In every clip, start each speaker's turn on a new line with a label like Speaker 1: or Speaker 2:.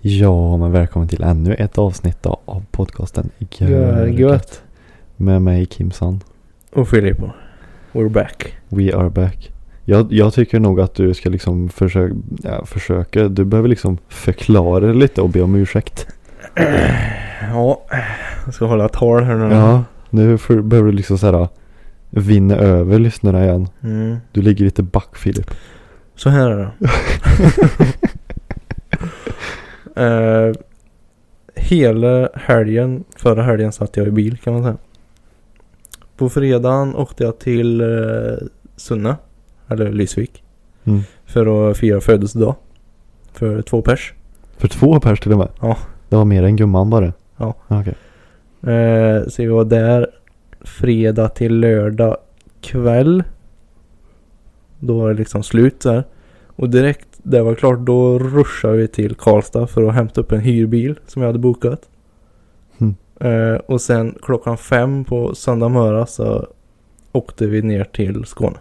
Speaker 1: Ja, men välkommen till ännu ett avsnitt då av podcasten
Speaker 2: Gör gött.
Speaker 1: Med mig Kimson.
Speaker 2: Och Filippo. We're back.
Speaker 1: We are back. Jag, jag tycker nog att du ska liksom försöka, ja, försöka, du behöver liksom förklara det lite och be om ursäkt.
Speaker 2: Ja, jag ska hålla tal här nu.
Speaker 1: Ja, nu för, behöver du liksom så här vinna över lyssnarna igen.
Speaker 2: Mm.
Speaker 1: Du ligger lite back Filip.
Speaker 2: Så här är det. Eh, hela helgen, förra helgen satt jag i bil kan man säga. På fredagen åkte jag till eh, Sunne, eller Lysvik,
Speaker 1: Mm.
Speaker 2: för att fira födelsedag. För två pers.
Speaker 1: För två pers till och med?
Speaker 2: Ja.
Speaker 1: Det var mer än gumman bara? Ah,
Speaker 2: Ja.
Speaker 1: Okej.
Speaker 2: Eh, så vi var där fredag till lördag kväll. Då var det liksom slut där. Och direkt det var klart då ruschade vi till Karlstad för att hämta upp en hyrbil som jag hade bokat.
Speaker 1: Mm.
Speaker 2: Eh, och sen klockan fem på söndag morgon så åkte vi ner till Skåne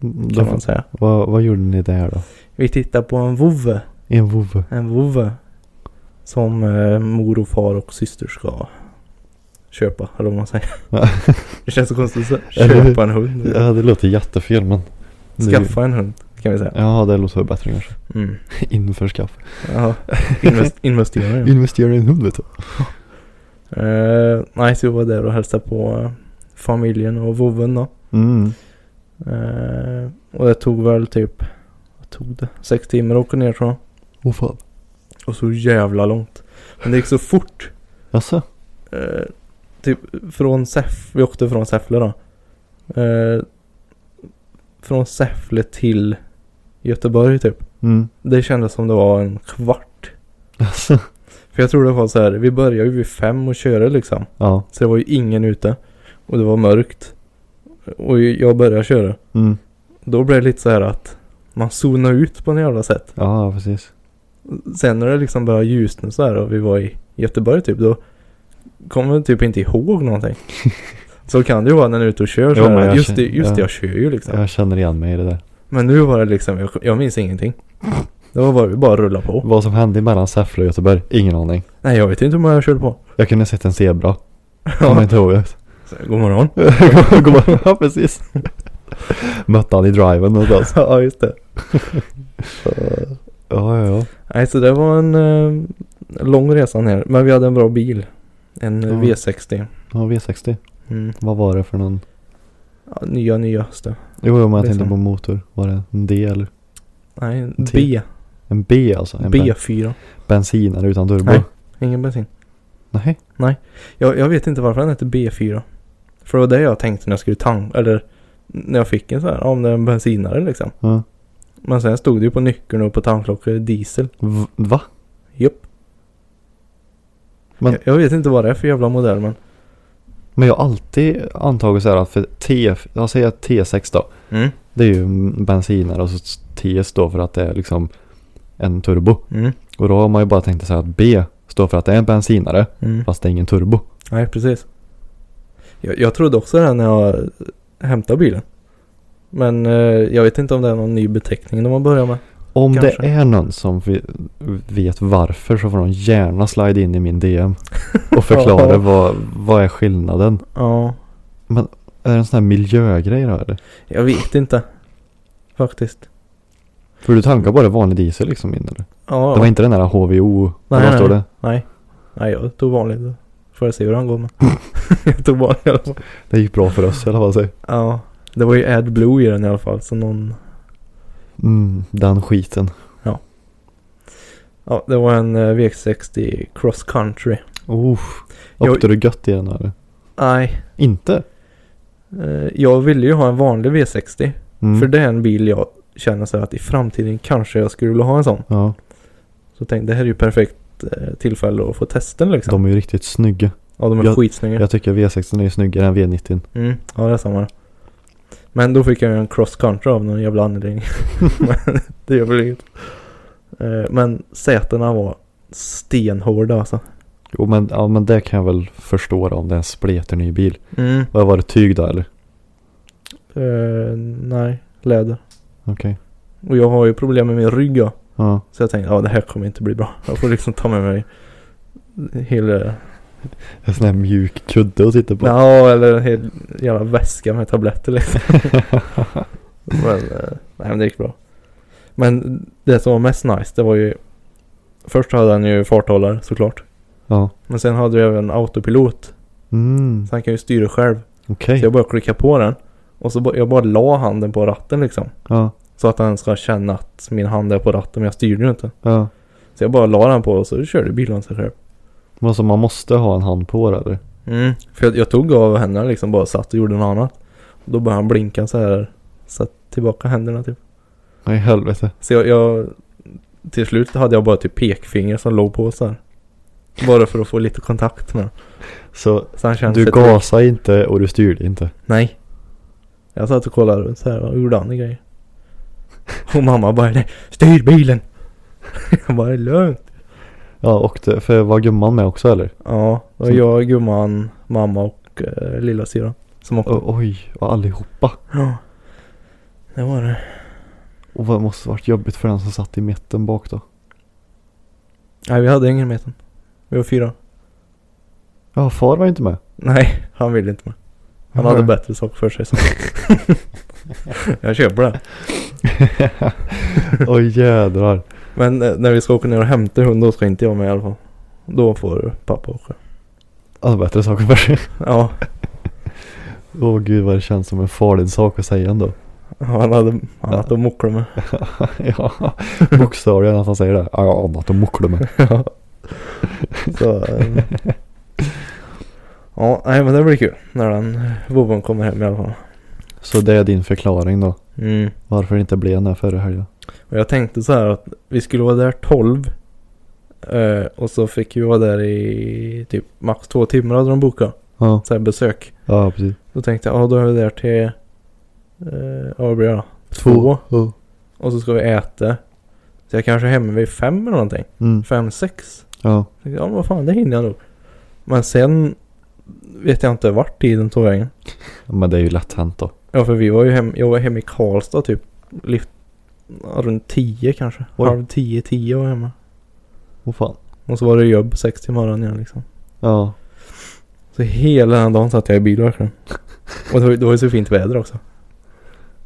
Speaker 2: kan man
Speaker 1: Mm, Då,
Speaker 2: säga.
Speaker 1: vad, vad gjorde ni där då?
Speaker 2: Vi tittade på en vovve.
Speaker 1: En vovve?
Speaker 2: En vovve. Som eh, mor och far och syster ska köpa, eller vad man säger.
Speaker 1: Ja.
Speaker 2: Det känns så konstigt att säga.
Speaker 1: Eller hur?
Speaker 2: köpa en hund.
Speaker 1: Ja, det låter jättefel men. nu-
Speaker 2: Skaffa en hund kan vi säga.
Speaker 1: Ja, det låter bättre kanske.
Speaker 2: Mm.
Speaker 1: Införskaff.
Speaker 2: Ja. Invest- investera i den.
Speaker 1: Investera i en hund vet du.
Speaker 2: Eh, Nej, så vi var där och hälsade på eh, familjen och vovven då.
Speaker 1: Mm.
Speaker 2: Eh, och det tog väl typ, vad tog det? Sex timmar att åka ner tror jag.
Speaker 1: Åh fan.
Speaker 2: Och så jävla långt. Men det gick så fort.
Speaker 1: Jaså?
Speaker 2: Eh, typ från Säff, vi åkte från Säffle då. Eh, från Säffle till Göteborg typ.
Speaker 1: Mm.
Speaker 2: Det kändes som det var en kvart.
Speaker 1: Jaså?
Speaker 2: För jag tror det var så här, vi började ju vid fem och körde liksom.
Speaker 1: Ja.
Speaker 2: Så det var ju ingen ute. Och det var mörkt. Och jag började köra.
Speaker 1: Mm.
Speaker 2: Då blev det lite så här att man zonar ut på något jävla sätt.
Speaker 1: Ja, precis.
Speaker 2: Sen när det liksom började ljusna så här och vi var i Göteborg typ då kommer jag typ inte ihåg någonting. Så kan det ju vara när du är ute och kör så
Speaker 1: Jo,
Speaker 2: här,
Speaker 1: men jag
Speaker 2: Just, det,
Speaker 1: känner-
Speaker 2: just det,
Speaker 1: ja.
Speaker 2: jag kör ju liksom.
Speaker 1: Jag känner igen mig i det där.
Speaker 2: Men nu var det liksom, jag, jag minns ingenting. Det var bara, vi bara rulla på.
Speaker 1: Vad som hände mellan Säffle och Göteborg? Ingen aning.
Speaker 2: Nej, jag vet inte hur många jag körde på.
Speaker 1: Jag kunde ha sett en zebra. Om jag
Speaker 2: Ja.
Speaker 1: inte ihåg rätt.
Speaker 2: Så, God morgon.
Speaker 1: God morgon. Ja, precis. Mötte han i driven någonstans.
Speaker 2: ja, just det.
Speaker 1: Ja, ja, ja.
Speaker 2: Nej, så det var en eh, lång resa ner. Men vi hade en bra bil. En eh,
Speaker 1: Ja.
Speaker 2: V60.
Speaker 1: Ja, V60.
Speaker 2: Mm.
Speaker 1: Vad var det för någon?
Speaker 2: Ja, nya, nyaste.
Speaker 1: Jo, jo, men jag
Speaker 2: Det är
Speaker 1: tänkte
Speaker 2: så.
Speaker 1: på motor. Var det en D eller?
Speaker 2: Nej, en
Speaker 1: T.
Speaker 2: B.
Speaker 1: En B alltså? En ben-
Speaker 2: B4.
Speaker 1: Bensinare utan turbo?
Speaker 2: Nej. Ingen bensin.
Speaker 1: Nej.
Speaker 2: Jag, jag vet inte varför den heter B4. För det var det jag tänkte när jag skulle tanka. Eller när jag fick en så här. ja, Om det är en bensinare liksom.
Speaker 1: Ja.
Speaker 2: Men sen stod det ju på nyckeln och på tanklocket diesel.
Speaker 1: V- va?
Speaker 2: Jupp.
Speaker 1: Men-
Speaker 2: Jag, jag vet inte vad det är för jävla modell men.
Speaker 1: Men jag har alltid antagit så här att för T, jag säger T6 då.
Speaker 2: Mm.
Speaker 1: Det är ju en bensinare och så T står för att det är liksom en turbo.
Speaker 2: Mm.
Speaker 1: Och då har man ju bara tänkt sig att B står för att det är en bensinare
Speaker 2: Mm.
Speaker 1: fast det är ingen turbo.
Speaker 2: Nej, precis. Jag, jag trodde också det här när jag hämtade bilen. Men eh, jag vet inte om det är någon ny beteckning de har börjat med.
Speaker 1: Om
Speaker 2: Kanske.
Speaker 1: det är någon som vi- vet varför så får de gärna slide in i min DM och förklara
Speaker 2: Ja.
Speaker 1: vad, vad är skillnaden.
Speaker 2: Ja,
Speaker 1: Är det en sån här miljögrej då eller?
Speaker 2: jag vet inte. Faktiskt.
Speaker 1: För du tankar bara vanlig diesel liksom in eller?
Speaker 2: Ja,
Speaker 1: Det var inte den där HVO?
Speaker 2: Nej,
Speaker 1: Nej, vad
Speaker 2: nej.
Speaker 1: står det?
Speaker 2: nej. Nej, jag tog vanligt. Får jag se hur han går med. jag tog vanligt i alla fall.
Speaker 1: Det gick bra för oss i alla fall. säg.
Speaker 2: Ja, det var ju AdBlue i den i alla fall. Så någon...
Speaker 1: Mm, den skiten.
Speaker 2: Ja, det var en eh, V60 Cross Country.
Speaker 1: Oh,
Speaker 2: Jag-
Speaker 1: åkte du gött i den eller?
Speaker 2: Nej,
Speaker 1: Inte?
Speaker 2: eh, jag ville ju ha en vanlig V60.
Speaker 1: Mm.
Speaker 2: För det är en bil jag känner så här att i framtiden kanske jag skulle vilja ha en sån.
Speaker 1: Ja,
Speaker 2: Så tänk, det här är ju perfekt eh, tillfälle att få testen liksom.
Speaker 1: de är ju riktigt snygga.
Speaker 2: ja, de är
Speaker 1: jag-
Speaker 2: skitsnygga.
Speaker 1: Jag tycker V16 är ju snyggare än V90.
Speaker 2: Mm, ja, det är samma. Men då fick jag ju en cross country av någon jävla anledning. Men det gör väl inget. Eh, Men sätena var stenhårda alltså.
Speaker 1: Jo men, ja, men det kan jag väl förstå då, om det är en spreterny bil.
Speaker 2: Mm.
Speaker 1: Vad var det, tyg då eller?
Speaker 2: Eh, nej, läder.
Speaker 1: Okej.
Speaker 2: Och jag har ju problem med min rygg ja.
Speaker 1: Ja.
Speaker 2: Så jag tänkte, ja det här kommer inte bli bra. Jag får liksom ta med mig hela...
Speaker 1: En sån här mjuk kudde att sitta på.
Speaker 2: Ja, eller en hel jävla väska med tabletter liksom. men, eh, nej men det gick bra. Men det som var mest nice, det var ju... Först hade han ju farthållare såklart.
Speaker 1: Ja.
Speaker 2: Men sen hade vi även autopilot.
Speaker 1: Mm,
Speaker 2: Så han kan ju styra själv.
Speaker 1: okej.
Speaker 2: Så jag bara klickade på den. Och så ba- jag bara la handen på ratten liksom.
Speaker 1: Ja,
Speaker 2: Så att han ska känna att min hand är på ratten men jag styrde ju inte.
Speaker 1: ja.
Speaker 2: Så jag bara la den på och så körde bilen sig själv.
Speaker 1: Men alltså man måste ha en hand på det eller?
Speaker 2: Mm. För jag, jag tog av händerna liksom bara satt och gjorde något annat. Och då började han blinka så här. Satt tillbaka händerna typ.
Speaker 1: Nej helvete.
Speaker 2: Så jag, jag till slut hade jag bara typ pekfinger som låg på så här. Bara för att få lite kontakt med honom.
Speaker 1: Så
Speaker 2: Så han kände
Speaker 1: du
Speaker 2: sig
Speaker 1: gasade inte och du styrde inte.
Speaker 2: Nej. Jag satt och kollade runt så här och gjorde andra grejer. Och mamma bara nej, styr bilen! Jag bara det är lugnt.
Speaker 1: Ja och det, för var gumman med också eller?
Speaker 2: Ja, och
Speaker 1: Som-
Speaker 2: jag, gumman, mamma och eh, lilla syra som åkte.
Speaker 1: O- oj, och allihopa.
Speaker 2: Ja. Det var det.
Speaker 1: Och vad måste varit jobbigt för den som satt i mitten bak då?
Speaker 2: Nej, vi hade ingen meten. Vi var fyra.
Speaker 1: Ja far var inte med.
Speaker 2: Nej, han ville inte med. Han hade bättre saker för sig. Så. jag köper det.
Speaker 1: Oj jädrar.
Speaker 2: Men eh, när vi ska åka ner och hämta hunden, då ska inte jag med i alla fall. Då får pappa åka.
Speaker 1: Alltså bättre saker för sig.
Speaker 2: Ja,
Speaker 1: Åh gud vad det känns som en farlig sak att säga ändå.
Speaker 2: han hade annat att mockla med.
Speaker 1: ja, bokstavligen att han säger det. Ja, jag har annat att muckla med.
Speaker 2: Ja. Så, ehm. ja, nej men det blir kul när den vovven kommer hem i alla fall.
Speaker 1: Så det är din förklaring då.
Speaker 2: Mm.
Speaker 1: Varför det inte blev den här förra helgen.
Speaker 2: Och jag tänkte så här att vi skulle vara där 12. eh, och så fick vi vara där i typ max två timmar hade de bokat.
Speaker 1: Ja,
Speaker 2: Så här besök.
Speaker 1: ja precis.
Speaker 2: Då tänkte jag, ja då är vi där till, eh, ja vad blir det då? Två.
Speaker 1: Ja.
Speaker 2: Och så ska vi äta. Så jag kanske är hemma vid fem eller någonting.
Speaker 1: Mm.
Speaker 2: Fem, sex.
Speaker 1: Ja.
Speaker 2: Tänkte, Ja men vad fan det hinner jag nog. Men sen vet jag inte vart tiden tog vägen.
Speaker 1: Men det är ju lätt hänt då.
Speaker 2: Ja för vi var ju hem, jag var hemma i Karlstad typ. Lift, ja, runt tio kanske.
Speaker 1: Oj.
Speaker 2: Halv tio, tio var jag hemma.
Speaker 1: Åh fan.
Speaker 2: Och så var det jobb sex till morgonen igen liksom.
Speaker 1: Ja.
Speaker 2: Så hela den dagen satt jag i bil verkligen. Och det var, ju- det var ju så fint väder också.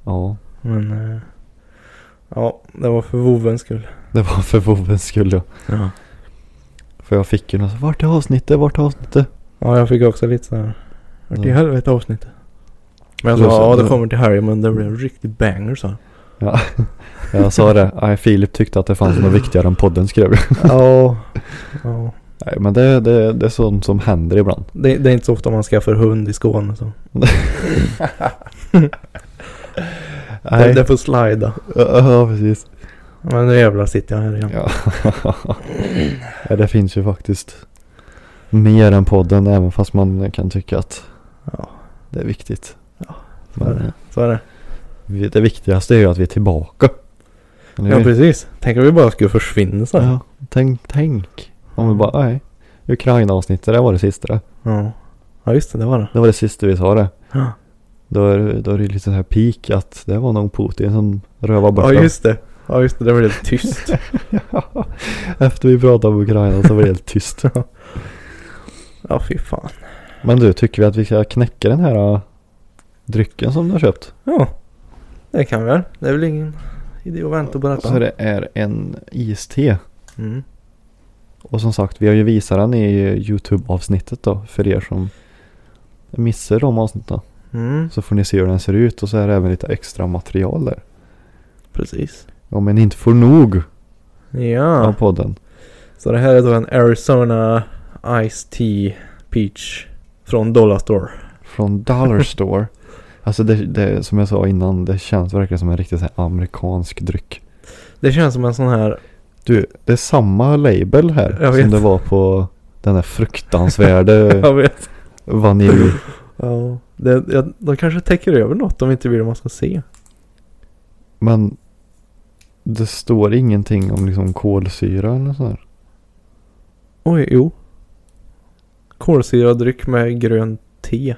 Speaker 1: Ja.
Speaker 2: Men eh, ja, det var för vovvens skull.
Speaker 1: Det var för vovvens skull ja.
Speaker 2: Ja.
Speaker 1: För jag fick ju något. så, Vart är avsnittet? Vart är avsnittet?
Speaker 2: ja jag fick också lite så här. Vart i
Speaker 1: Ja.
Speaker 2: helvete avsnittet. Men jag
Speaker 1: Det var
Speaker 2: sa
Speaker 1: så-
Speaker 2: ja det
Speaker 1: det-
Speaker 2: kommer till helgen men det blir en riktig banger så.
Speaker 1: Jag sa det. Nej, Filip tyckte att det fanns något viktigare än podden skrev jag.
Speaker 2: Ja. ja.
Speaker 1: Nej, men det, det, det är sånt som händer ibland.
Speaker 2: Det, det är inte så ofta man skaffar hund i Skåne så. Det,
Speaker 1: Nej.
Speaker 2: det får slida.
Speaker 1: Ja, ja, precis.
Speaker 2: Men nu jävlar sitter jag här igen.
Speaker 1: Ja. ja, det finns ju faktiskt mer än podden även fast man kan tycka att
Speaker 2: Ja.
Speaker 1: det är viktigt.
Speaker 2: Ja,
Speaker 1: Men eh,
Speaker 2: Så är det.
Speaker 1: vi- det viktigaste är ju att vi är tillbaka. Eller
Speaker 2: Ja
Speaker 1: hur?
Speaker 2: precis. Tänk om vi bara skulle försvinna så här.
Speaker 1: Ja, tänk, tänk. Om vi bara, nej. Ukraina-avsnittet, det var det sista det.
Speaker 2: Ja. Ja just det, det var det.
Speaker 1: Det var det sista vi sa det.
Speaker 2: Ja.
Speaker 1: Då är, då är det lite så här peak att det var någon Putin som rövade bort
Speaker 2: Ja
Speaker 1: dem.
Speaker 2: just det. Ja just det, det var lite tyst.
Speaker 1: Efter vi pratade om Ukraina så var det helt tyst.
Speaker 2: ja fy fan.
Speaker 1: Men du, tycker vi att vi ska knäcka den här äh, drycken som du har köpt?
Speaker 2: Ja. Det kan vi väl. Det är väl ingen idé att vänta på
Speaker 1: Så
Speaker 2: detta.
Speaker 1: det är en iste.
Speaker 2: Mm.
Speaker 1: Och som sagt, vi har ju visat den i YouTube-avsnittet då. För er som missar de avsnitten.
Speaker 2: Mm.
Speaker 1: Så får ni se hur den ser ut och så är det även lite extra material där.
Speaker 2: Precis.
Speaker 1: Om ni inte får nog
Speaker 2: Ja.
Speaker 1: av podden.
Speaker 2: Så det här är då en Arizona Ice Tea Peach från Dollar Store.
Speaker 1: Från Dollar Store. Alltså det, det, som jag sa innan, det känns verkligen som en riktigt så här amerikansk dryck.
Speaker 2: Det känns som en sån här,
Speaker 1: Du, det är samma label här
Speaker 2: Jag
Speaker 1: som
Speaker 2: vet.
Speaker 1: det var på den här fruktansvärde
Speaker 2: jag vet.
Speaker 1: vanilj.
Speaker 2: Eh. Ja. Det, jag, de kanske täcker över något de inte vill att man ska se.
Speaker 1: Men det står ingenting om liksom kolsyra eller något sånt där.
Speaker 2: Oj, jo. Kolsyrad dryck med grönt te.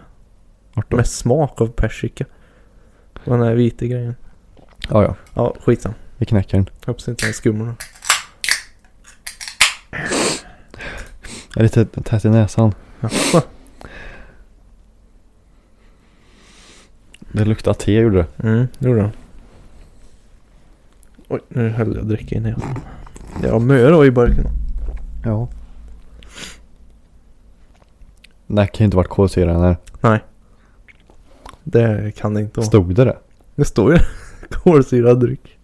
Speaker 1: Vart då?
Speaker 2: Med smak av persika. Och Den här vita grejen.
Speaker 1: Ja, ja.
Speaker 2: Ja, skitsam.
Speaker 1: Vi knäcker den.
Speaker 2: Hoppas inte den skummar.
Speaker 1: Jag är lite tätt i näsan.
Speaker 2: Jaså?
Speaker 1: Det luktar te gjorde det.
Speaker 2: Mm, det gjorde den. Oj, nu höll jag dricka i näsan. Det var mö då i burken.
Speaker 1: Ja. Det kan ju inte varit kolsyra i den här.
Speaker 2: Det kan det inte vara.
Speaker 1: Stod det det?
Speaker 2: Det står ju kolsyrad dryck.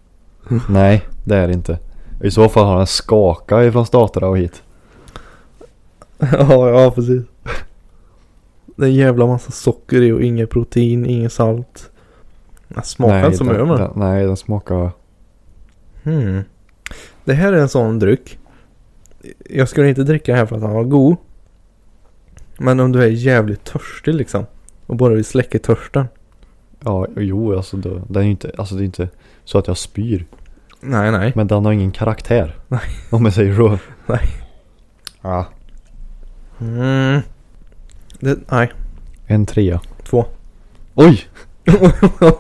Speaker 2: Mm.
Speaker 1: Nej, det är det inte. I så fall har den skakat ifrån staterna och hit.
Speaker 2: ja, ja precis. Det är en jävla massa socker i och inget protein, inget salt. Den smakar
Speaker 1: Nej,
Speaker 2: inte som
Speaker 1: den-
Speaker 2: öl men.
Speaker 1: den- Nej, den smakar...
Speaker 2: Hmm. Det här är en sån dryck. Jag skulle inte dricka den här för att den var god. Men om du är jävligt törstig liksom. Och bara vill släcka törsten.
Speaker 1: Ja, jo alltså det, den är ju inte, alltså det är inte så att jag spyr.
Speaker 2: Nej, nej.
Speaker 1: Men den har ingen karaktär. Om jag säger så.
Speaker 2: Nej.
Speaker 1: Ja.
Speaker 2: Mm. Det, nej,
Speaker 1: En trea.
Speaker 2: två.
Speaker 1: Oj!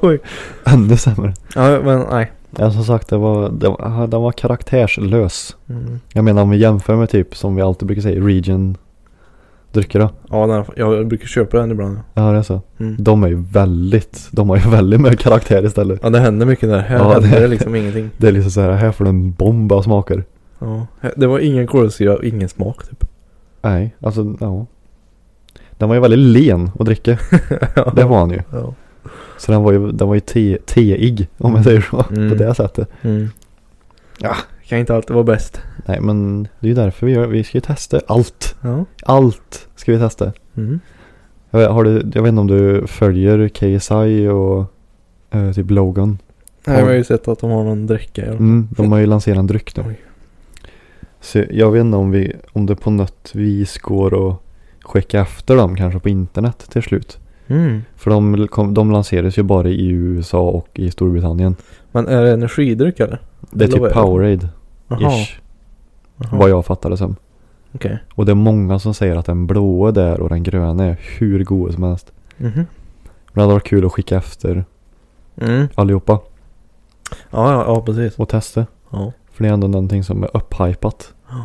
Speaker 2: Oj.
Speaker 1: Ännu sämre.
Speaker 2: Ja, men nej.
Speaker 1: Ja, som sagt, det var, det, var- den var karaktärslös.
Speaker 2: Mm.
Speaker 1: Jag menar om vi jämför med typ som vi alltid brukar säga, region drycker då.
Speaker 2: Ja, den, jag brukar köpa den ibland.
Speaker 1: Ja, det är så.
Speaker 2: Mm.
Speaker 1: De är ju väldigt, de har ju väldigt mycket karaktär istället.
Speaker 2: Ja, det händer mycket där. Här
Speaker 1: Ja,
Speaker 2: händer
Speaker 1: det-
Speaker 2: det liksom ingenting.
Speaker 1: Det är liksom så här, här får du en bomb av smaker.
Speaker 2: Ja. Det var ingen kolsyra och ingen smak typ.
Speaker 1: Nej, alltså ja. Den var ju väldigt len att dricka.
Speaker 2: ja.
Speaker 1: Det var han ju.
Speaker 2: Ja.
Speaker 1: Så den var ju, den var ju te, teig om man säger så.
Speaker 2: Mm.
Speaker 1: På det sättet.
Speaker 2: Mm.
Speaker 1: Ja.
Speaker 2: Kan inte alltid vara bäst.
Speaker 1: Nej men det är ju därför vi gör, vi ska ju testa allt.
Speaker 2: Ja.
Speaker 1: Allt ska vi testa.
Speaker 2: Mm.
Speaker 1: Jag, vet- har du, jag vet inte om du följer KSI och eh, typ Logan.
Speaker 2: Nej, jag har ju sett att de har någon dricka. Ja.
Speaker 1: Mm, de har ju lanserat en dryck nu.
Speaker 2: Oj.
Speaker 1: Så jag vet inte om, vi, om det på något vis går att skicka efter dem kanske på internet till slut.
Speaker 2: Mm.
Speaker 1: För de, kom, de lanseras ju bara i USA och i Storbritannien.
Speaker 2: Men är det energidryck eller?
Speaker 1: Det är
Speaker 2: Eller vad
Speaker 1: typ
Speaker 2: är det?
Speaker 1: Powerade-ish.
Speaker 2: Jaha.
Speaker 1: Vad jag fattar det som.
Speaker 2: Okej.
Speaker 1: Och det är många som säger att den blåa där och den gröna är hur god som helst.
Speaker 2: Mhm.
Speaker 1: Men det hade varit kul att skicka efter
Speaker 2: Mm.
Speaker 1: allihopa
Speaker 2: Ja, ja, ja, precis.
Speaker 1: och testa.
Speaker 2: Ja.
Speaker 1: För det är ändå någonting som är upphypat.
Speaker 2: Ja.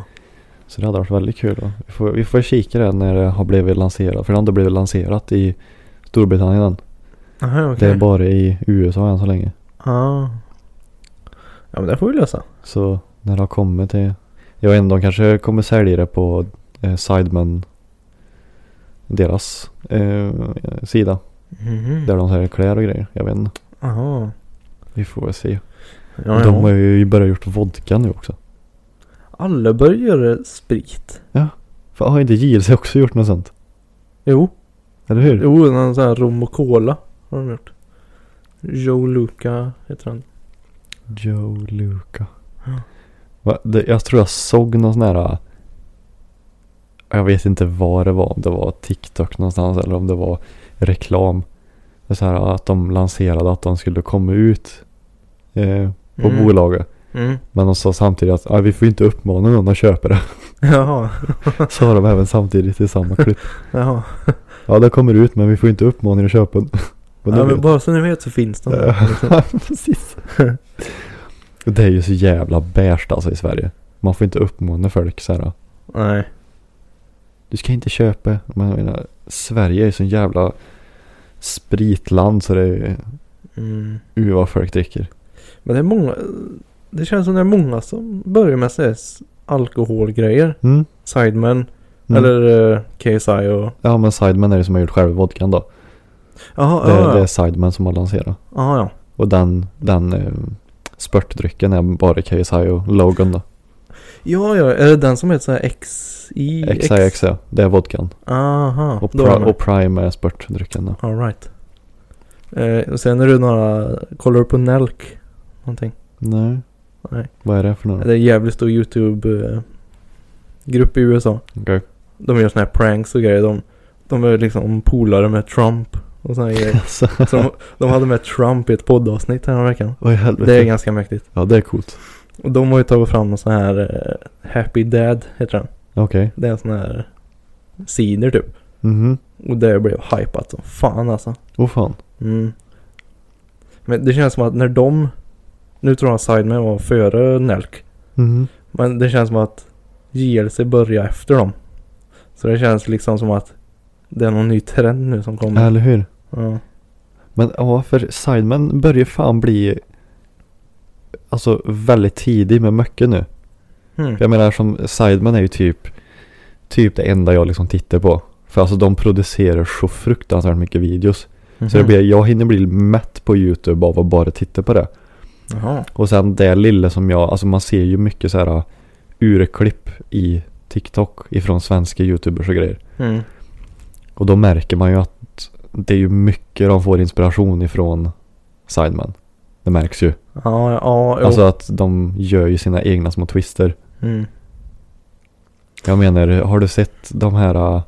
Speaker 1: Så det hade varit väldigt kul. då. Vi får, vi får kika det när det har blivit lanserat. För det har inte blivit lanserat i Storbritannien än.
Speaker 2: Aha, okej.
Speaker 1: Det är bara i USA än så länge.
Speaker 2: Ah. Ja, men det får vi lösa.
Speaker 1: Så när det har kommit till... Jag vet inte, de kanske kommer sälja det på eh, Sidemen. Deras eh, sida.
Speaker 2: Mhm.
Speaker 1: Där de säljer kläder och grejer. Jag vet inte.
Speaker 2: Aha.
Speaker 1: Vi får väl se.
Speaker 2: Ja,
Speaker 1: De har
Speaker 2: ja.
Speaker 1: ju börjat gjort vodka nu också.
Speaker 2: Alla börjar göra sprit.
Speaker 1: För har inte JLC också gjort något sånt?
Speaker 2: Jo.
Speaker 1: Eller hur?
Speaker 2: Jo, någon sån här rom och cola har de gjort. Joe Luca heter han.
Speaker 1: Joe Luca.
Speaker 2: Ja.
Speaker 1: Va? Det, jag tror jag såg någon sån här. äh, Jag vet inte vad det var. Om det var TikTok någonstans eller om det var reklam. Det är så här äh, att de lanserade att de skulle komma ut eh, på
Speaker 2: Mm.
Speaker 1: bolaget.
Speaker 2: Mm.
Speaker 1: Men de sa samtidigt att ah, vi får inte uppmana någon att köpa det.
Speaker 2: Jaha.
Speaker 1: Så har de även samtidigt i samma klipp.
Speaker 2: Jaha.
Speaker 1: Ja det kommer ut men vi får inte uppmana er att köpa den. Och
Speaker 2: Ja,
Speaker 1: nu-
Speaker 2: men liksom. bara så ni vet så finns de. där.
Speaker 1: Ja, precis. Och det är ju så jävla beige alltså i Sverige. Man får inte uppmana folk så här.
Speaker 2: Nej.
Speaker 1: Du ska inte köpa. Men jag menar, Sverige är ju så jävla spritland så det är
Speaker 2: Mm.
Speaker 1: ju vad folk dricker.
Speaker 2: Men det är många. Det känns som det är många som börjar med sådär s- alkoholgrejer.
Speaker 1: Mm.
Speaker 2: Sidemen.
Speaker 1: Mm.
Speaker 2: Eller eh, KSI och.
Speaker 1: Ja men Sidemen är det som har gjort själva vodkan då.
Speaker 2: Jaha,
Speaker 1: Det,
Speaker 2: Ah, ja,
Speaker 1: det är
Speaker 2: ja.
Speaker 1: Sidemen som har lanserat.
Speaker 2: Jaha, ja.
Speaker 1: Och den, den eh, spörtdrycken är bara KSI och Logan då.
Speaker 2: Ja, ja. Är det den som heter såhär XI?
Speaker 1: XIX ja, det är vodkan.
Speaker 2: Aha.
Speaker 1: Och,
Speaker 2: då är jag
Speaker 1: pri-
Speaker 2: med.
Speaker 1: och Prime är spörtdrycken då.
Speaker 2: All right. Eh, och sen är det några, kollar du på Nelk? Någonting?
Speaker 1: Nej.
Speaker 2: Nej.
Speaker 1: Vad är det för något?
Speaker 2: Det är en jävligt stor YouTube-grupp i USA.
Speaker 1: Okej.
Speaker 2: De gör såna här pranks och grejer. De, de är liksom polare med Trump och såna här grejer.
Speaker 1: Alltså.
Speaker 2: Så de, de hade med Trump i ett poddavsnitt här veckan.
Speaker 1: Vad i helvete?
Speaker 2: Det är ganska mäktigt.
Speaker 1: Ja, det är coolt.
Speaker 2: Och de har ju tagit fram en sån här eh, Happy Dad heter den.
Speaker 1: Okej.
Speaker 2: Det är en sån här cider typ.
Speaker 1: Mhm.
Speaker 2: Och det blev hypat som fan alltså.
Speaker 1: Åh fan.
Speaker 2: Mm. Men det känns som att när de... Nu tror jag Sidemen var före Nelk.
Speaker 1: Mhm.
Speaker 2: Men det känns som att JLC börjar efter dem. Så det känns liksom som att det är någon ny trend nu som kommer.
Speaker 1: Eller hur?
Speaker 2: Ja.
Speaker 1: Men ja, för Sidemen börjar fan bli Alltså väldigt tidig med mycket nu.
Speaker 2: Mm.
Speaker 1: Jag menar som Sidemen är ju typ Typ det enda jag liksom tittar på. För alltså de producerar så fruktansvärt mycket videos. Så det
Speaker 2: Mhm.
Speaker 1: blir, jag hinner bli mätt på YouTube av att bara titta på det.
Speaker 2: Jaha.
Speaker 1: Och sen det lilla som jag, alltså man ser ju mycket så här ah, urklipp i TikTok ifrån svenska YouTubers och grejer.
Speaker 2: Mm.
Speaker 1: Och då märker man ju att det är ju mycket de får inspiration ifrån Sideman. Det märks ju.
Speaker 2: Ja, ja, jo.
Speaker 1: Alltså att de gör ju sina egna små twister.
Speaker 2: Mm.
Speaker 1: Jag menar, har du sett de här, äh,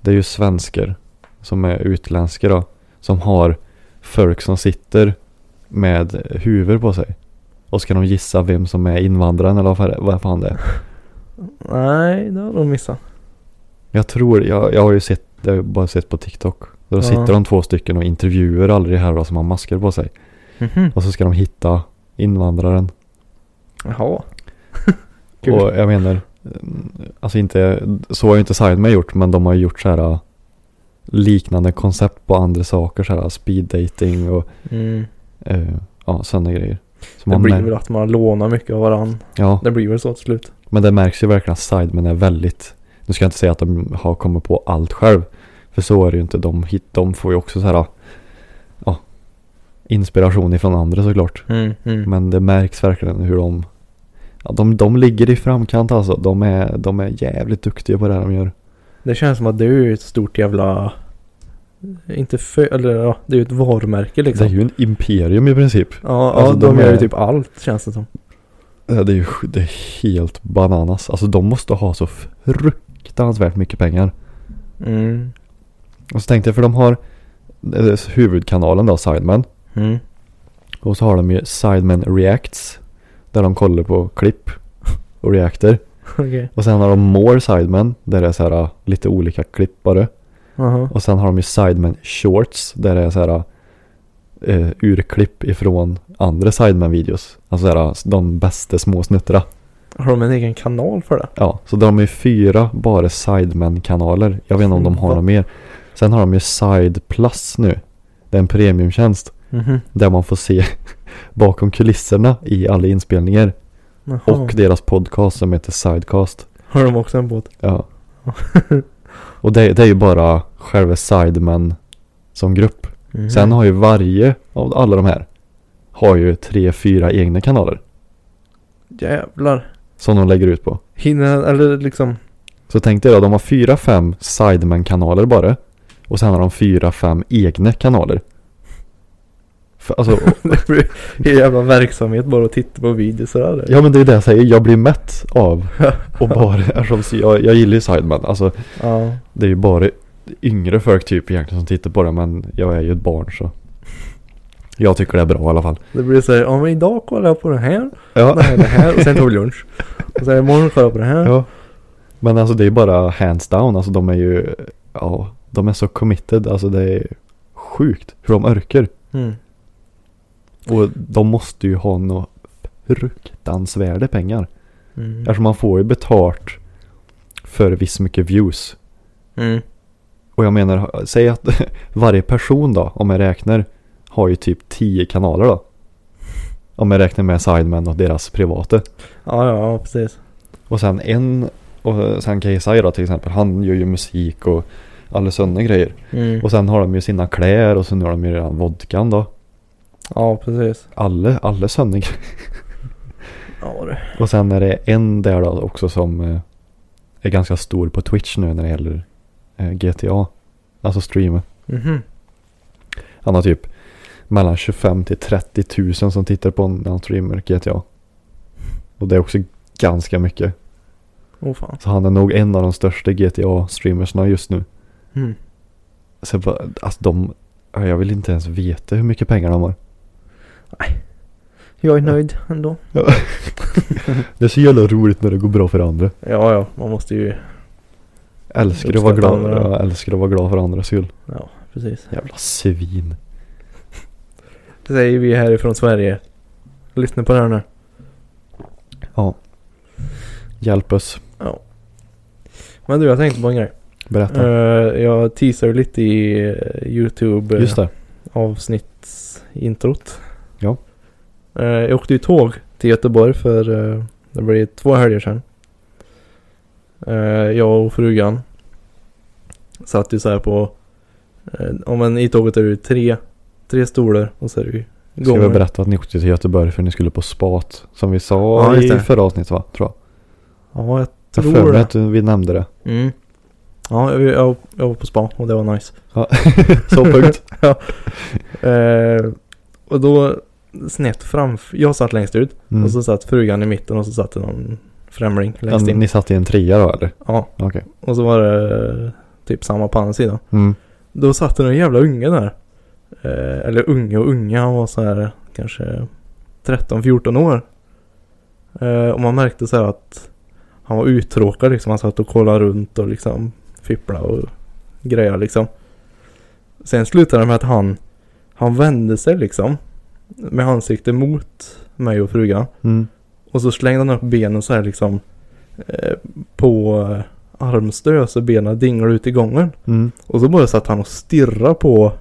Speaker 1: det är ju svenskar som är utländska då, som har folk som sitter med huvor på sig. Och ska de gissa vem som är invandraren eller vad fan- vad fan det är.
Speaker 2: Nej, det har de missat.
Speaker 1: Jag tror, jag, jag har ju sett, jag har ju bara sett på TikTok. Då
Speaker 2: Ja.
Speaker 1: sitter de två stycken och intervjuar alla de här då som har masker på sig.
Speaker 2: Mhm.
Speaker 1: Och så ska de hitta invandraren.
Speaker 2: Jaha. Kul.
Speaker 1: Och jag menar, mm, alltså inte, så har ju inte Sideman gjort, men de har ju gjort så här äh, liknande koncept på andra saker, så här speed dating och
Speaker 2: Mm.
Speaker 1: eh, ja, sådana grejer. Så
Speaker 2: Det
Speaker 1: man
Speaker 2: blir
Speaker 1: mär-
Speaker 2: väl att man lånar mycket av varandra.
Speaker 1: Ja,
Speaker 2: Det blir väl så till slut.
Speaker 1: men det märks ju verkligen att Sideman är väldigt, nu ska jag inte säga att de har kommit på allt själv, för så är det ju inte. De, hit, de får ju också så här, äh, ja, inspiration ifrån andra såklart.
Speaker 2: Mm. Mm.
Speaker 1: Men det märks verkligen hur de ja, de, de ligger i framkant alltså. De är, de är jävligt duktiga på det här de gör.
Speaker 2: Det känns som att det är ju ett stort jävla... Inte för... Eller ja, det är ju ett varumärke liksom.
Speaker 1: Det är ju en imperium i princip.
Speaker 2: Ja,
Speaker 1: Alltså,
Speaker 2: ja de,
Speaker 1: de
Speaker 2: gör
Speaker 1: är-
Speaker 2: ju typ allt känns det som.
Speaker 1: Det är ju det är helt bananas. Alltså de måste ha så fruktansvärt mycket pengar.
Speaker 2: Mm.
Speaker 1: Och så tänkte jag, för de har eh, huvudkanalen då, Sidemen.
Speaker 2: Mm.
Speaker 1: Och så har de ju Sidemen Reacts. Där de kollar på klipp och reakter.
Speaker 2: Okej.
Speaker 1: Och sen har de More Sidemen. Där det är så här eh, lite olika klipp bara.
Speaker 2: Jaha.
Speaker 1: Och sen har de ju Sidemen Shorts där det är så här eh, urklipp ifrån andra Sidemen-videos. Alltså så här, de bästa små snuttarna.
Speaker 2: Har de en egen kanal för det?
Speaker 1: Ja, så de har ju fyra bara Sidemen-kanaler. Jag vet inte om de har
Speaker 2: Va?
Speaker 1: några mer. Sen har de ju Side Plus nu. Det är en premiumtjänst
Speaker 2: Mhm.
Speaker 1: där man får se bakom kulisserna i alla inspelningar.
Speaker 2: Jaha.
Speaker 1: Och deras podcast som heter Sidecast.
Speaker 2: Har de också en båt?
Speaker 1: Ja. Och det, det är ju bara själva Sidemen som grupp.
Speaker 2: Mhm.
Speaker 1: Sen har ju varje av alla de här har ju tre, fyra egna kanaler
Speaker 2: Jävlar.
Speaker 1: som de lägger ut på.
Speaker 2: Hinner, eller liksom.
Speaker 1: Så tänkte jag då, de har fyra, fem Sidemen-kanaler bara. Och sen har de fyra, fem egna kanaler. För, alltså,
Speaker 2: det blir en jävla verksamhet bara att titta på videos sådär.
Speaker 1: ja men det är det jag säger, jag blir mätt av och bara är som, så jag, jag gillar ju Sidemen. Alltså
Speaker 2: ja.
Speaker 1: det är ju bara yngre folk typ egentligen som tittar på det men jag är ju ett barn så. Jag tycker det är bra i alla fall.
Speaker 2: Det blir såhär, ja men idag kollar jag på den här.
Speaker 1: Ja.
Speaker 2: Nej, det här. Och sen tog vi lunch. Och sen imorgon kollar jag på den här.
Speaker 1: Ja. Men alltså det är bara hands down. Alltså de är ju, ja, de är så committed. Alltså det är sjukt hur de orkar.
Speaker 2: Mm.
Speaker 1: Och de måste ju ha några fruktansvärda pengar.
Speaker 2: Mm.
Speaker 1: Eftersom man får ju betalt för viss mycket views.
Speaker 2: Mm.
Speaker 1: Och jag menar, säg att varje person då, om jag räknar, har ju typ 10 kanaler då. Om jag räknar med Sidemen och deras privata.
Speaker 2: Ja, ja, ja, precis.
Speaker 1: Och sen en, och sen KSI då till exempel, han gör ju musik och alla sådana grejer.
Speaker 2: Mm.
Speaker 1: Och sen har de ju sina kläder och sen har de ju redan vodkan då.
Speaker 2: Ja, precis.
Speaker 1: Alla, alla sönder.
Speaker 2: Ja, du.
Speaker 1: Och sen är det en där då också som eh, är ganska stor på Twitch nu när det gäller eh, GTA. Alltså streamen.
Speaker 2: Mhm.
Speaker 1: Han har typ mellan 25 till 30 000 som tittar på när han streamar GTA. Och det är också ganska mycket.
Speaker 2: Åh fan.
Speaker 1: Så han är nog en av de största GTA-streamersna just nu.
Speaker 2: Mm.
Speaker 1: Så jag bara, alltså de, ja, jag vill inte ens veta hur mycket pengar de har.
Speaker 2: Jag är nöjd ändå.
Speaker 1: Det är så jävla roligt när det går bra för andra.
Speaker 2: Ja, ja, man måste ju.
Speaker 1: Älskar att vara
Speaker 2: Uppskattar
Speaker 1: glad,
Speaker 2: andra.
Speaker 1: jag älskar att vara glad för andras skull.
Speaker 2: Ja, precis.
Speaker 1: Jävla svin.
Speaker 2: Det säger vi härifrån Sverige. Lyssna på det här nu.
Speaker 1: Hjälp oss.
Speaker 2: Men du, jag tänkte på en grej.
Speaker 1: Berätta.
Speaker 2: Eh, jag teasar ju lite i eh, YouTube eh,
Speaker 1: Just det.
Speaker 2: avsnittsintrot.
Speaker 1: Ja.
Speaker 2: Eh, jag åkte ju tåg till Göteborg för eh, det blev två helger sedan. Eh, jag och frugan satt ju så här på, eh, om en i tåget är det ju tre, tre stolar och så är det ju
Speaker 1: Ska vi
Speaker 2: gången.
Speaker 1: berätta att ni åkte till Göteborg för ni skulle på spat. Som vi sa
Speaker 2: Ja,
Speaker 1: i
Speaker 2: just det.
Speaker 1: förra avsnittet va? Tror jag.
Speaker 2: Ja, jag
Speaker 1: Jag har för mig
Speaker 2: tror det.
Speaker 1: att vi nämnde det.
Speaker 2: Mm. Ja, jag, jag, jag var på spa och det var nice.
Speaker 1: Ja. Så punkt.
Speaker 2: Eh, och då snett framför, jag satt längst ut
Speaker 1: Mm.
Speaker 2: och så satt frugan i mitten och så satt det någon främling
Speaker 1: Ja,
Speaker 2: längst in.
Speaker 1: ni satt i en trea då eller?
Speaker 2: Ja.
Speaker 1: Okej.
Speaker 2: Och så var det eh, typ samma på andra sidan.
Speaker 1: Mm.
Speaker 2: Då satt det någon jävla unge där. Eh, eller unge och unge, han var så här kanske 13-14 år. Eh, och man märkte så här att han var uttråkad liksom. Han satt och kollade runt och liksom fipplade och grejade liksom. Sen slutade det med att han, han vände sig liksom. Med ansiktet mot mig och frugan.
Speaker 1: Mm.
Speaker 2: Och så slängde han upp benen så här liksom eh, på eh, armstöd så benen dinglade ut i gången.
Speaker 1: Mm.
Speaker 2: Och så bara satt han och stirrade på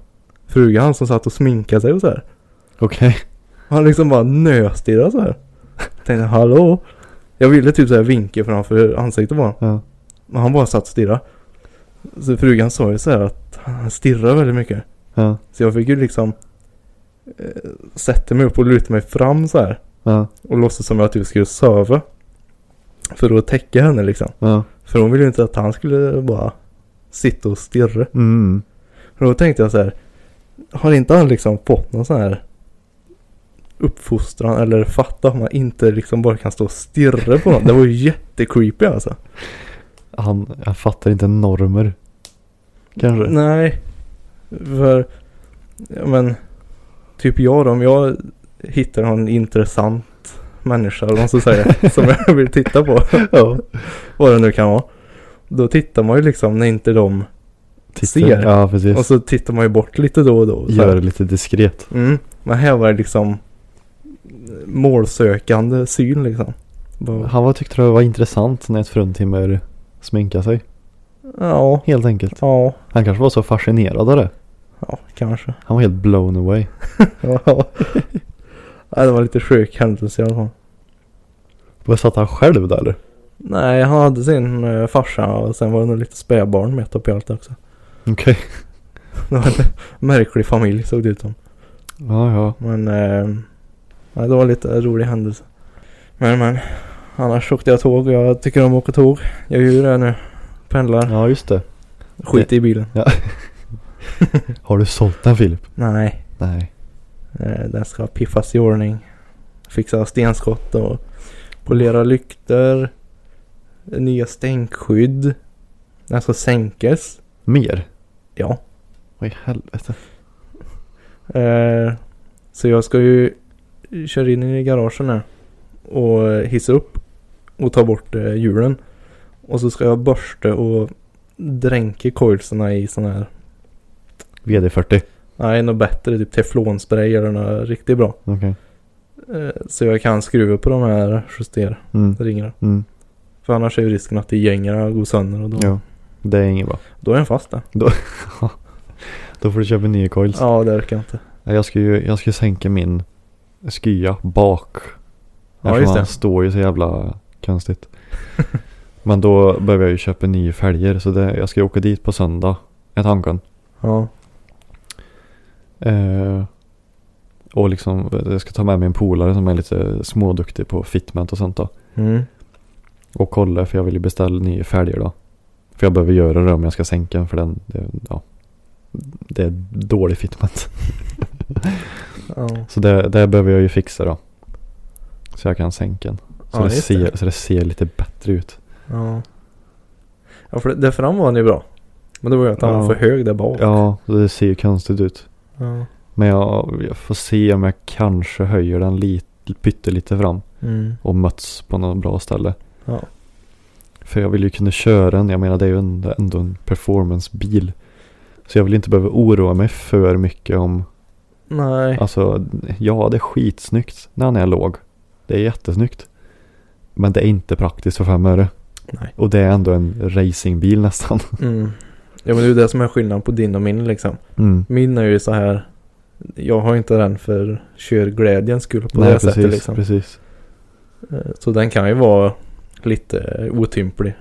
Speaker 2: frugan som satt och sminkade sig och så här.
Speaker 1: Okej.
Speaker 2: Han liksom bara nöstirrade så här. Tänkte hallå? Jag ville typ så här vinka framför ansiktet på honom.
Speaker 1: Ja.
Speaker 2: Men han bara satt och stirrade. Så frugan sa ju så här att han stirrar väldigt mycket.
Speaker 1: Ja.
Speaker 2: Så jag fick ju liksom eh, sätta mig upp och luta mig fram så här.
Speaker 1: Ja.
Speaker 2: Och låtsas som jag typ skulle sova. För att täcka henne liksom.
Speaker 1: Ja.
Speaker 2: För hon ville ju inte att han skulle bara sitta och stirra.
Speaker 1: Mm.
Speaker 2: Och då tänkte jag så här. Har inte han liksom fått någon sån här uppfostran eller fatta att man inte liksom bara kan stå och stirra på någon. Det var ju jättecreepy alltså.
Speaker 1: Han, han fattar inte normer. Kanske.
Speaker 2: Nej. För, ja, men, typ jag då, om jag hittar någon intressant människa eller vad man ska säga, som jag vill titta på.
Speaker 1: Ja.
Speaker 2: Vad det nu kan vara. Då tittar man ju liksom när inte de,
Speaker 1: Titta.
Speaker 2: Ser.
Speaker 1: Ja precis.
Speaker 2: och så tittar man ju bort lite då och då. så här.
Speaker 1: Gör det lite diskret.
Speaker 2: Mm. Men här var det liksom målsökande syn liksom. Bara,
Speaker 1: Han var, tyckte det var intressant när ett fruntimmer sminkade sig.
Speaker 2: ja,
Speaker 1: Helt enkelt.
Speaker 2: ja,
Speaker 1: Han kanske var så fascinerad av det.
Speaker 2: ja, kanske.
Speaker 1: Han var helt blown away.
Speaker 2: Ja. Nej, det var lite sjuk händelse i alla fall.
Speaker 1: Var satt han själv där eller?
Speaker 2: Nej, han hade sin eh, farsa och sen var det nog lite spädbarn med upp i allt också.
Speaker 1: Okej.
Speaker 2: Det var en märklig familj såg det ut som.
Speaker 1: Ja, ja.
Speaker 2: Men eh, nej, det var lite rolig händelse. Men men, annars åkte jag tåg och jag tycker om att åka tåg. Jag gör ju det nu. Pendlar.
Speaker 1: Ja, just det.
Speaker 2: Skit i bilen.
Speaker 1: Har du sålt den Filip?
Speaker 2: Nej.
Speaker 1: Nej.
Speaker 2: Eh, Den ska piffas i ordning. Fixa stenskott och polera lyktor. Nya stänkskydd. Den ska sänkas.
Speaker 1: Mer?
Speaker 2: Ja.
Speaker 1: Vad i helvete?
Speaker 2: Eh, Så jag ska ju köra in i garagen här. Och hissa upp. Och ta bort eh, hjulen. Och så ska jag borsta och dränka coilsarna i sån här.
Speaker 1: VD40.
Speaker 2: Nej, något bättre. Typ teflonspray eller något riktigt bra.
Speaker 1: Okej.
Speaker 2: Eh, Så jag kan skruva på de här justerringarna.
Speaker 1: Mm. Mm.
Speaker 2: För annars är ju risken att det gängarna går sönder och då,
Speaker 1: Ja. Det är inget bra.
Speaker 2: då är den fast där.
Speaker 1: Då får du köpa nya coils.
Speaker 2: Ja, det orkar jag inte.
Speaker 1: Ja, Jag ska ju, jag ska sänka min skya bak.
Speaker 2: Ja,
Speaker 1: Eftersom
Speaker 2: just
Speaker 1: Han
Speaker 2: det.
Speaker 1: står ju så jävla konstigt. Men då behöver jag ju köpa nya fälgar så det, jag ska ju åka dit på söndag. Är tanken.
Speaker 2: Ja,
Speaker 1: Eh, och liksom, jag ska ta med mig en polare som är lite småduktig på fitment och sånt då.
Speaker 2: mm.
Speaker 1: Och kolla för jag vill ju beställa nya fälgar då. För jag behöver göra det om jag ska sänka den för den, det, ja. Det är dålig fitment.
Speaker 2: Ja.
Speaker 1: Så det, det behöver jag ju fixa då. Så jag kan sänka den. Så,
Speaker 2: Ja,
Speaker 1: det
Speaker 2: just
Speaker 1: ser, så det ser lite bättre ut.
Speaker 2: Ja. Ja, för det, där fram var han ju bra. Men det var ju att han
Speaker 1: Ja.
Speaker 2: var för hög där bak.
Speaker 1: Ja, det ser ju konstigt ut.
Speaker 2: Ja.
Speaker 1: Men jag, jag får se om jag kanske höjer den lite, pyttelite fram.
Speaker 2: Mm.
Speaker 1: Och möts på något bra ställe.
Speaker 2: Ja.
Speaker 1: För jag vill ju kunna köra den. Jag menar det är ju en- ändå en performancebil. Så jag vill inte behöva oroa mig för mycket om.
Speaker 2: Nej.
Speaker 1: Alltså ja det är skitsnyggt när han är låg. Det är jättesnyggt. Men det är inte praktiskt för fem öre.
Speaker 2: Nej.
Speaker 1: Och det är ändå en racingbil nästan.
Speaker 2: Mm. Ja men det är ju det som är skillnaden på din och min liksom.
Speaker 1: Mm.
Speaker 2: Min är ju så här. Jag har inte den för körglädjens skull på
Speaker 1: Nej
Speaker 2: det
Speaker 1: precis,
Speaker 2: sättet liksom.
Speaker 1: precis.
Speaker 2: Eh, Så den kan ju vara lite eh, otymplig.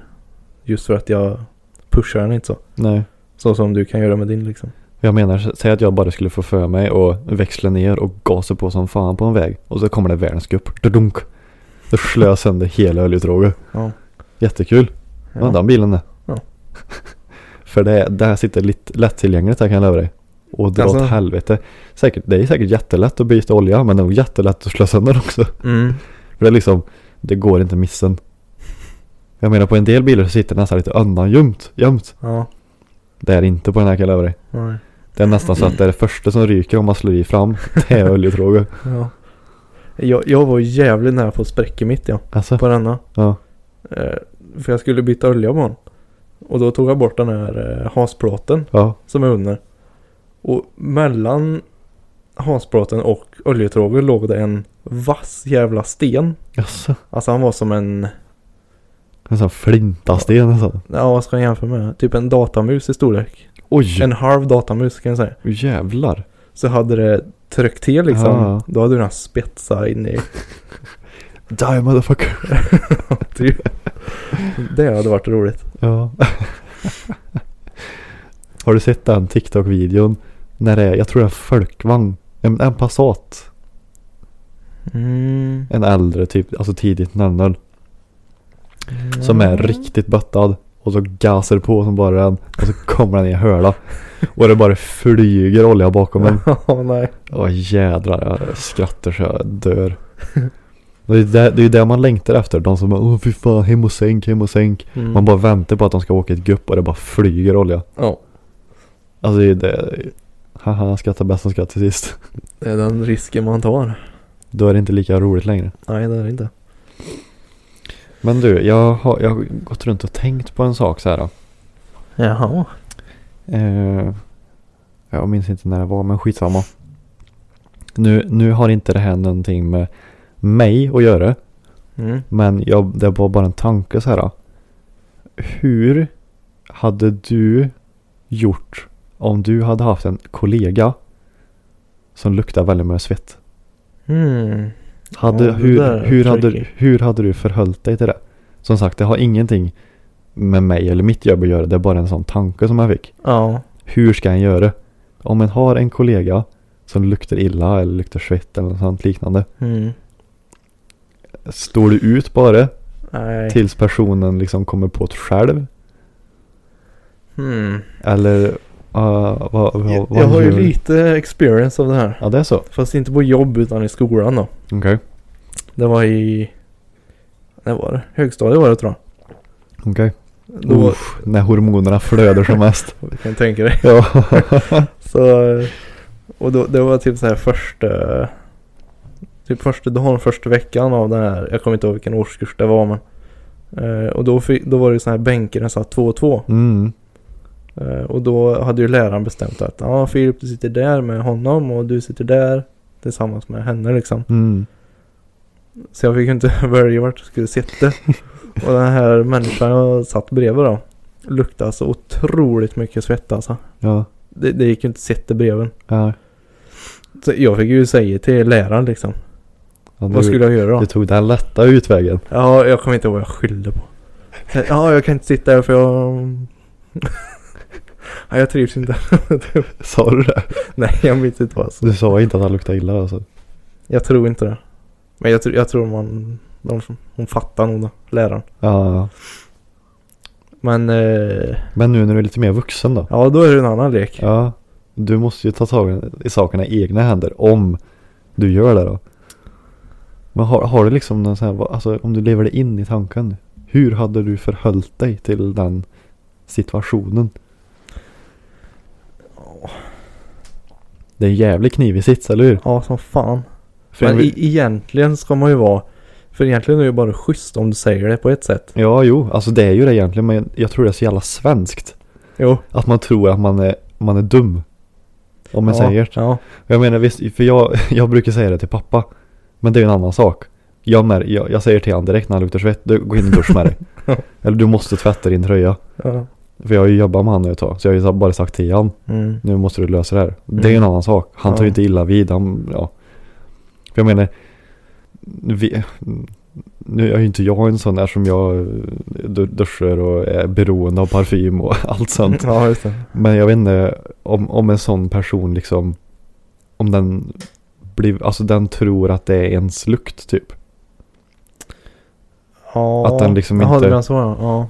Speaker 2: Just för att jag pushar den inte så.
Speaker 1: Nej.
Speaker 2: Så som du kan göra med din liksom.
Speaker 1: Jag menar, sä- säg att jag bara skulle få för mig och växla ner och gasa på som fan på en väg. Och så kommer det världens kupp. Dunk. Då slår jag sönder hela oljetråget.
Speaker 2: Ja.
Speaker 1: Jättekul.
Speaker 2: Ja.
Speaker 1: Undan bilen det.
Speaker 2: Ja.
Speaker 1: För det, det här sitter lite lättillgängligt här kan jag lova dig. Och dra
Speaker 2: Alltså-
Speaker 1: åt helvete. Säkert, det är säkert jättelätt att byta olja men det är nog jättelätt att slå sönder också.
Speaker 2: Mm.
Speaker 1: För det är liksom, det går inte missen. Jag menar på en del bilar så sitter det nästan lite undangömt. Gömt.
Speaker 2: Ja.
Speaker 1: Det är inte på den här kan jag lova dig.
Speaker 2: Nej.
Speaker 1: Det är nästan så att det är det första som ryker om man slår i fram. Det är oljetråge.
Speaker 2: Ja. Jag, jag var jävligt nära på att spräcka mitt ja.
Speaker 1: Alltså,
Speaker 2: På denna.
Speaker 1: ja.
Speaker 2: Eh, För jag skulle byta olja på den. Och då tog jag bort den här eh, hasplåten
Speaker 1: Ja.
Speaker 2: som är under. Och mellan hasplåten och oljetråget låg det en vass jävla sten.
Speaker 1: Alltså,
Speaker 2: Alltså han var som en,
Speaker 1: en sån flintasten alltså.
Speaker 2: ja vad ska jag jämföra med? Typ en datamus i storlek.
Speaker 1: Oj,
Speaker 2: En halv datamus kan jag säga.
Speaker 1: jävlar.
Speaker 2: Så hade det tryckt till liksom.
Speaker 1: Ja.
Speaker 2: Då hade den spetsat in i.
Speaker 1: Die motherfucker.
Speaker 2: Typ. det hade varit roligt.
Speaker 1: Ja. Har du sett den TikTok-videon? När det är, jag tror det är en folkvagn. En, en Passat.
Speaker 2: Mm.
Speaker 1: En äldre typ, alltså tidigt 00. Som är riktigt böttad. Och så gasar på som bara den. Och så kommer den i en höla. Och det bara flyger olja bakom en.
Speaker 2: Ja, nej.
Speaker 1: Åh jädrar, jag skrattar så jag dör. Det är ju det, det, är ju det man längtar efter. De som bara åh fy fan, hem och sänk, hem och sänk.
Speaker 2: Mm.
Speaker 1: Man bara väntar på att de ska åka ett gupp och det bara flyger olja.
Speaker 2: Ja,
Speaker 1: Alltså det är ju det. Haha, skrattar bäst som skrattar till sist.
Speaker 2: det är den risken man tar.
Speaker 1: Då är det inte lika roligt längre.
Speaker 2: Nej, det är det inte.
Speaker 1: Men du, jag har, jag har gått runt och tänkt på en sak så här. då.
Speaker 2: Jaha.
Speaker 1: Eh, jag minns inte när det var, men skitsamma. Nu, nu har inte det här någonting med mig att göra.
Speaker 2: Mm.
Speaker 1: Men jag, det var bara en tanke så här. Hur hade du gjort om du hade haft en kollega som luktar väldigt mycket svett?
Speaker 2: Mm.
Speaker 1: Hade,
Speaker 2: Ja, det där
Speaker 1: hur,
Speaker 2: är
Speaker 1: hur, hade,
Speaker 2: tricky.
Speaker 1: hur hade du förhållit dig till det? Som sagt, det har ingenting med mig eller mitt jobb att göra. Det är bara en sån tanke som jag fick.
Speaker 2: Ja.
Speaker 1: Hur ska jag göra? Om man har en kollega som luktar illa eller luktar svett eller något sånt liknande.
Speaker 2: Mm.
Speaker 1: Står du ut bara
Speaker 2: Nej.
Speaker 1: tills personen liksom kommer på det själv?
Speaker 2: Mm.
Speaker 1: Eller uh, vad, vad,
Speaker 2: Jag,
Speaker 1: vad
Speaker 2: jag har ju
Speaker 1: gör-
Speaker 2: lite experience av det här.
Speaker 1: Ja det är så?
Speaker 2: Fast inte på jobb utan i skolan då.
Speaker 1: Okej.
Speaker 2: Det var i... När var det? Högstadiet var det tror jag.
Speaker 1: Okej.
Speaker 2: Då,
Speaker 1: Uff, när hormonerna flödar som mest.
Speaker 2: du kan tänka dig.
Speaker 1: ja.
Speaker 2: Så... eh, Och då, det var typ så här första... Typ första dagen, första veckan av den här. Jag kommer inte ihåg vilken årskurs det var men. Eh, och då, fick, då var det ju såna här bänkar där satt två och två.
Speaker 1: Mm.
Speaker 2: Eh, och då hade ju läraren bestämt att ja, Filip du sitter där med honom och du sitter där tillsammans med henne liksom.
Speaker 1: Mm.
Speaker 2: Så jag fick ju inte välja vart jag skulle sitta. Och den här människan jag satt bredvid då. Luktade så otroligt mycket svett alltså.
Speaker 1: Ja.
Speaker 2: Det, det gick ju inte att sitta bredvid.
Speaker 1: Ja.
Speaker 2: Så jag fick ju säga till läraren liksom.
Speaker 1: ja du,
Speaker 2: Vad skulle jag göra
Speaker 1: du
Speaker 2: då?
Speaker 1: tog den lätta utvägen.
Speaker 2: Ja, jag kommer inte ihåg vad jag skyllde på. Så, Ja, jag kan inte sitta här för jag... Nej, jag trivs inte.
Speaker 1: Sa du det?
Speaker 2: Nej, jag minns inte vad jag sa.
Speaker 1: Du sa inte att han luktade illa alltså?
Speaker 2: Jag tror inte det. Men jag, tr- jag tror man... De, som- hon fattar nog då, läraren.
Speaker 1: Ja. ja.
Speaker 2: Men... Eh,
Speaker 1: Men nu när du är lite mer vuxen då?
Speaker 2: ja, då är det en annan lek.
Speaker 1: Ja. du måste ju ta tag i sakerna i egna händer om du gör det då. Men har, har du liksom någon sån här, vad- alltså om du lever det in i tanken. Hur hade du förhållit dig till den situationen? Det är en jävligt knivig sits, eller hur?
Speaker 2: Ja, som fan.
Speaker 1: För jag
Speaker 2: Men
Speaker 1: vill-
Speaker 2: e- egentligen ska man ju vara... För egentligen är det ju bara schysst om du säger det på ett sätt.
Speaker 1: Ja, jo, alltså det är ju det egentligen, men jag tror det är så jävla svenskt.
Speaker 2: Jo.
Speaker 1: Att man tror att man är, man är dum. Om man
Speaker 2: ja,
Speaker 1: säger.
Speaker 2: Ja.
Speaker 1: Jag menar visst, för jag, jag brukar säga det till pappa. Men det är ju en annan sak. Jag, mär, jag, jag säger till honom direkt när han luktar svett, du, gå in i dusch med dig. Eller du måste tvätta din tröja.
Speaker 2: ja.
Speaker 1: För jag har ju jobbat med honom ett tag, så jag har ju bara sagt till honom,
Speaker 2: Mm.
Speaker 1: nu måste du lösa det här. Det är ju en annan sak. Han tar ju
Speaker 2: Ja.
Speaker 1: inte illa vid, han, ja. För jag menar, vi, nu är ju inte jag en sån där som jag eh, du- duschar och är beroende av parfym och allt sånt.
Speaker 2: Ja, just det.
Speaker 1: Men jag vet inte om, om en sån person liksom Om den blir, alltså den tror att det är ens lukt typ
Speaker 2: Ja.
Speaker 1: Att den liksom
Speaker 2: Jaha,
Speaker 1: inte-
Speaker 2: det är den så ja. ja.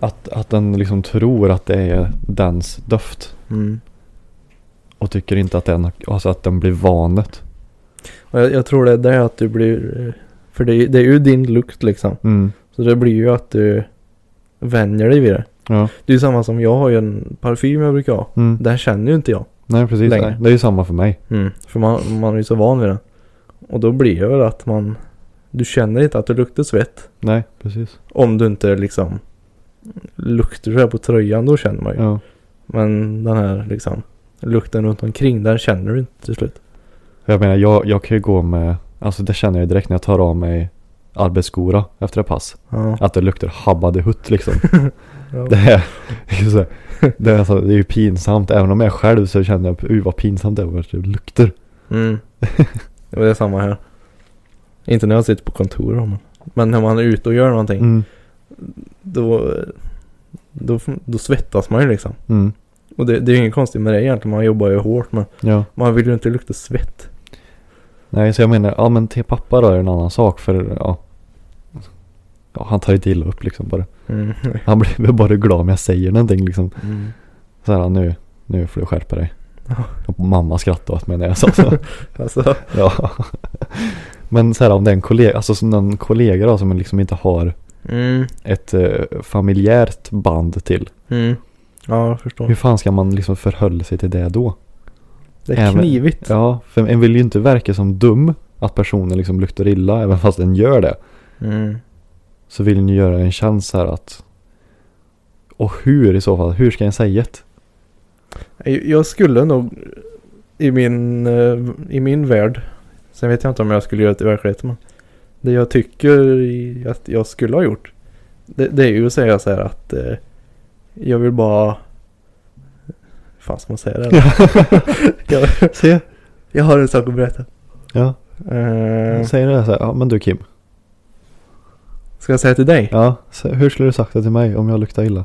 Speaker 1: Att, att den liksom tror att det är dens doft
Speaker 2: Mm.
Speaker 1: Och tycker inte att den, alltså att den blir vanet
Speaker 2: Och jag, jag tror det är det att du blir... eh, För det, är- det är ju din lukt liksom.
Speaker 1: mm.
Speaker 2: Så det blir ju att du vänjer dig vid det.
Speaker 1: Ja,
Speaker 2: Det är ju samma som jag har ju en parfym jag brukar ha.
Speaker 1: mm.
Speaker 2: Den känner ju inte jag.
Speaker 1: nej precis,
Speaker 2: Längre.
Speaker 1: nej. det är ju samma för mig
Speaker 2: För man, man är ju så van vid den. Och då blir det väl att man... Du känner inte att du luktar svett.
Speaker 1: Nej, precis
Speaker 2: Om du inte liksom luktar så här på tröjan då känner man ju.
Speaker 1: ja.
Speaker 2: Men den här liksom lukten runt omkring den känner du inte till slut.
Speaker 1: Jag menar, jag, jag kan ju gå med, alltså det känner jag ju direkt när jag tar av mig arbetsskora efter ett pass
Speaker 2: Ja.
Speaker 1: Att det luktar habbade hutt liksom
Speaker 2: Ja.
Speaker 1: Det är, det är, så här, det är, alltså, det är ju pinsamt. Även om jag är själv så känner jag, uh vad pinsamt det var att det luktar.
Speaker 2: Mm. Det var det samma här. Inte när jag sitter på kontor då, men. men när man är ute och gör någonting.
Speaker 1: Mm.
Speaker 2: Då, då, då svettas man ju liksom.
Speaker 1: Mm.
Speaker 2: Och det, det är ju inget konstigt med det egentligen. Man jobbar ju hårt men
Speaker 1: Ja.
Speaker 2: man vill ju inte lukta svett.
Speaker 1: Nej, så jag menar, ja men till pappa då är det en annan sak för ja. ja han tar inte illa upp liksom bara.
Speaker 2: Mm.
Speaker 1: Han blir väl bara glad om jag säger någonting liksom.
Speaker 2: Mm.
Speaker 1: Så här, nu, nu får du skärpa dig.
Speaker 2: Ja.
Speaker 1: Och mamma skrattade åt mig när jag sa så.
Speaker 2: Alltså,
Speaker 1: ja. Men så här om det är en kollega, alltså som någon kollega då som liksom inte har
Speaker 2: mm.
Speaker 1: ett eh, familjärt band till.
Speaker 2: Mm. Ja, jag
Speaker 1: Hur
Speaker 2: förstår. fan?
Speaker 1: fan ska man liksom förhålla sig till det då?
Speaker 2: Det är
Speaker 1: Även-
Speaker 2: knivigt.
Speaker 1: Ja, för en vill ju inte verka som dum att personen liksom luktar illa även fast den gör det.
Speaker 2: Mm.
Speaker 1: Så vill ni göra en chans här att... Och hur i så fall? Hur ska en säga det?
Speaker 2: Jag jag skulle nog i min, eh, i min värld, sen vet jag inte om jag skulle göra det i verkligheten men det jag tycker i- att jag skulle ha gjort det, det är ju att säga så här att eh, jag vill bara fan ska man säga det? här? jag,
Speaker 1: Se!
Speaker 2: jag har en sak att berätta.
Speaker 1: Ja, Mm.
Speaker 2: Eh,
Speaker 1: säger det så här. Ja, men du Kim.
Speaker 2: ska jag säga till dig?
Speaker 1: Ja, så hur skulle du sagt det till mig om jag luktar illa?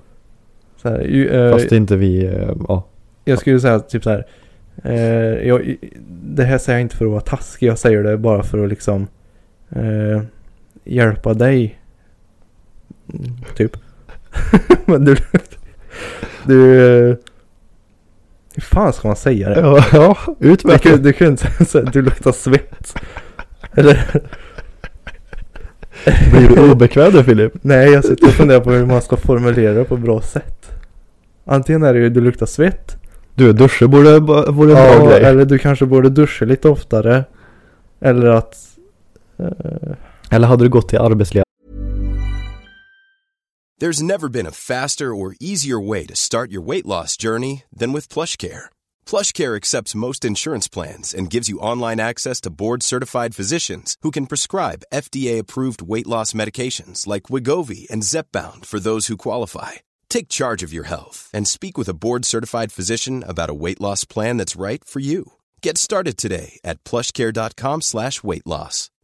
Speaker 2: Så här, ju, eh,
Speaker 1: Fast inte vi... eh, Ja.
Speaker 2: Jag skulle säga typ så här. Eh, jag, det här säger jag inte för att vara taskig. Jag säger det bara för att liksom eh, hjälpa dig. Mm, Typ. Men du... Du... eh, Hur fan ska man säga det?
Speaker 1: Ja, ja ut
Speaker 2: Du,
Speaker 1: med
Speaker 2: kan- du kunde säga så här, du luktar svett. Eller
Speaker 1: Blir du obekväm då Filip?
Speaker 2: nej, jag sitter och funderar på hur man ska formulera det på ett bra sätt. Antingen är det ju du luktar svett.
Speaker 1: Du, duscher borde, borde en bra
Speaker 2: Ja,
Speaker 1: grej.
Speaker 2: eller du kanske borde duscha lite oftare. Eller att... eh,
Speaker 1: Eller hade du gått till arbetsledaren
Speaker 3: There's never been a faster or easier way to start your weight loss journey than with PlushCare. PlushCare accepts most insurance plans and gives you online access to board-certified physicians who can prescribe FDA-approved weight loss medications like Wigovi and Zepbound for those who qualify. Take charge of your health and speak with a board-certified physician about a weight loss plan that's right for you. Get started today at plushcare.com slash weight loss.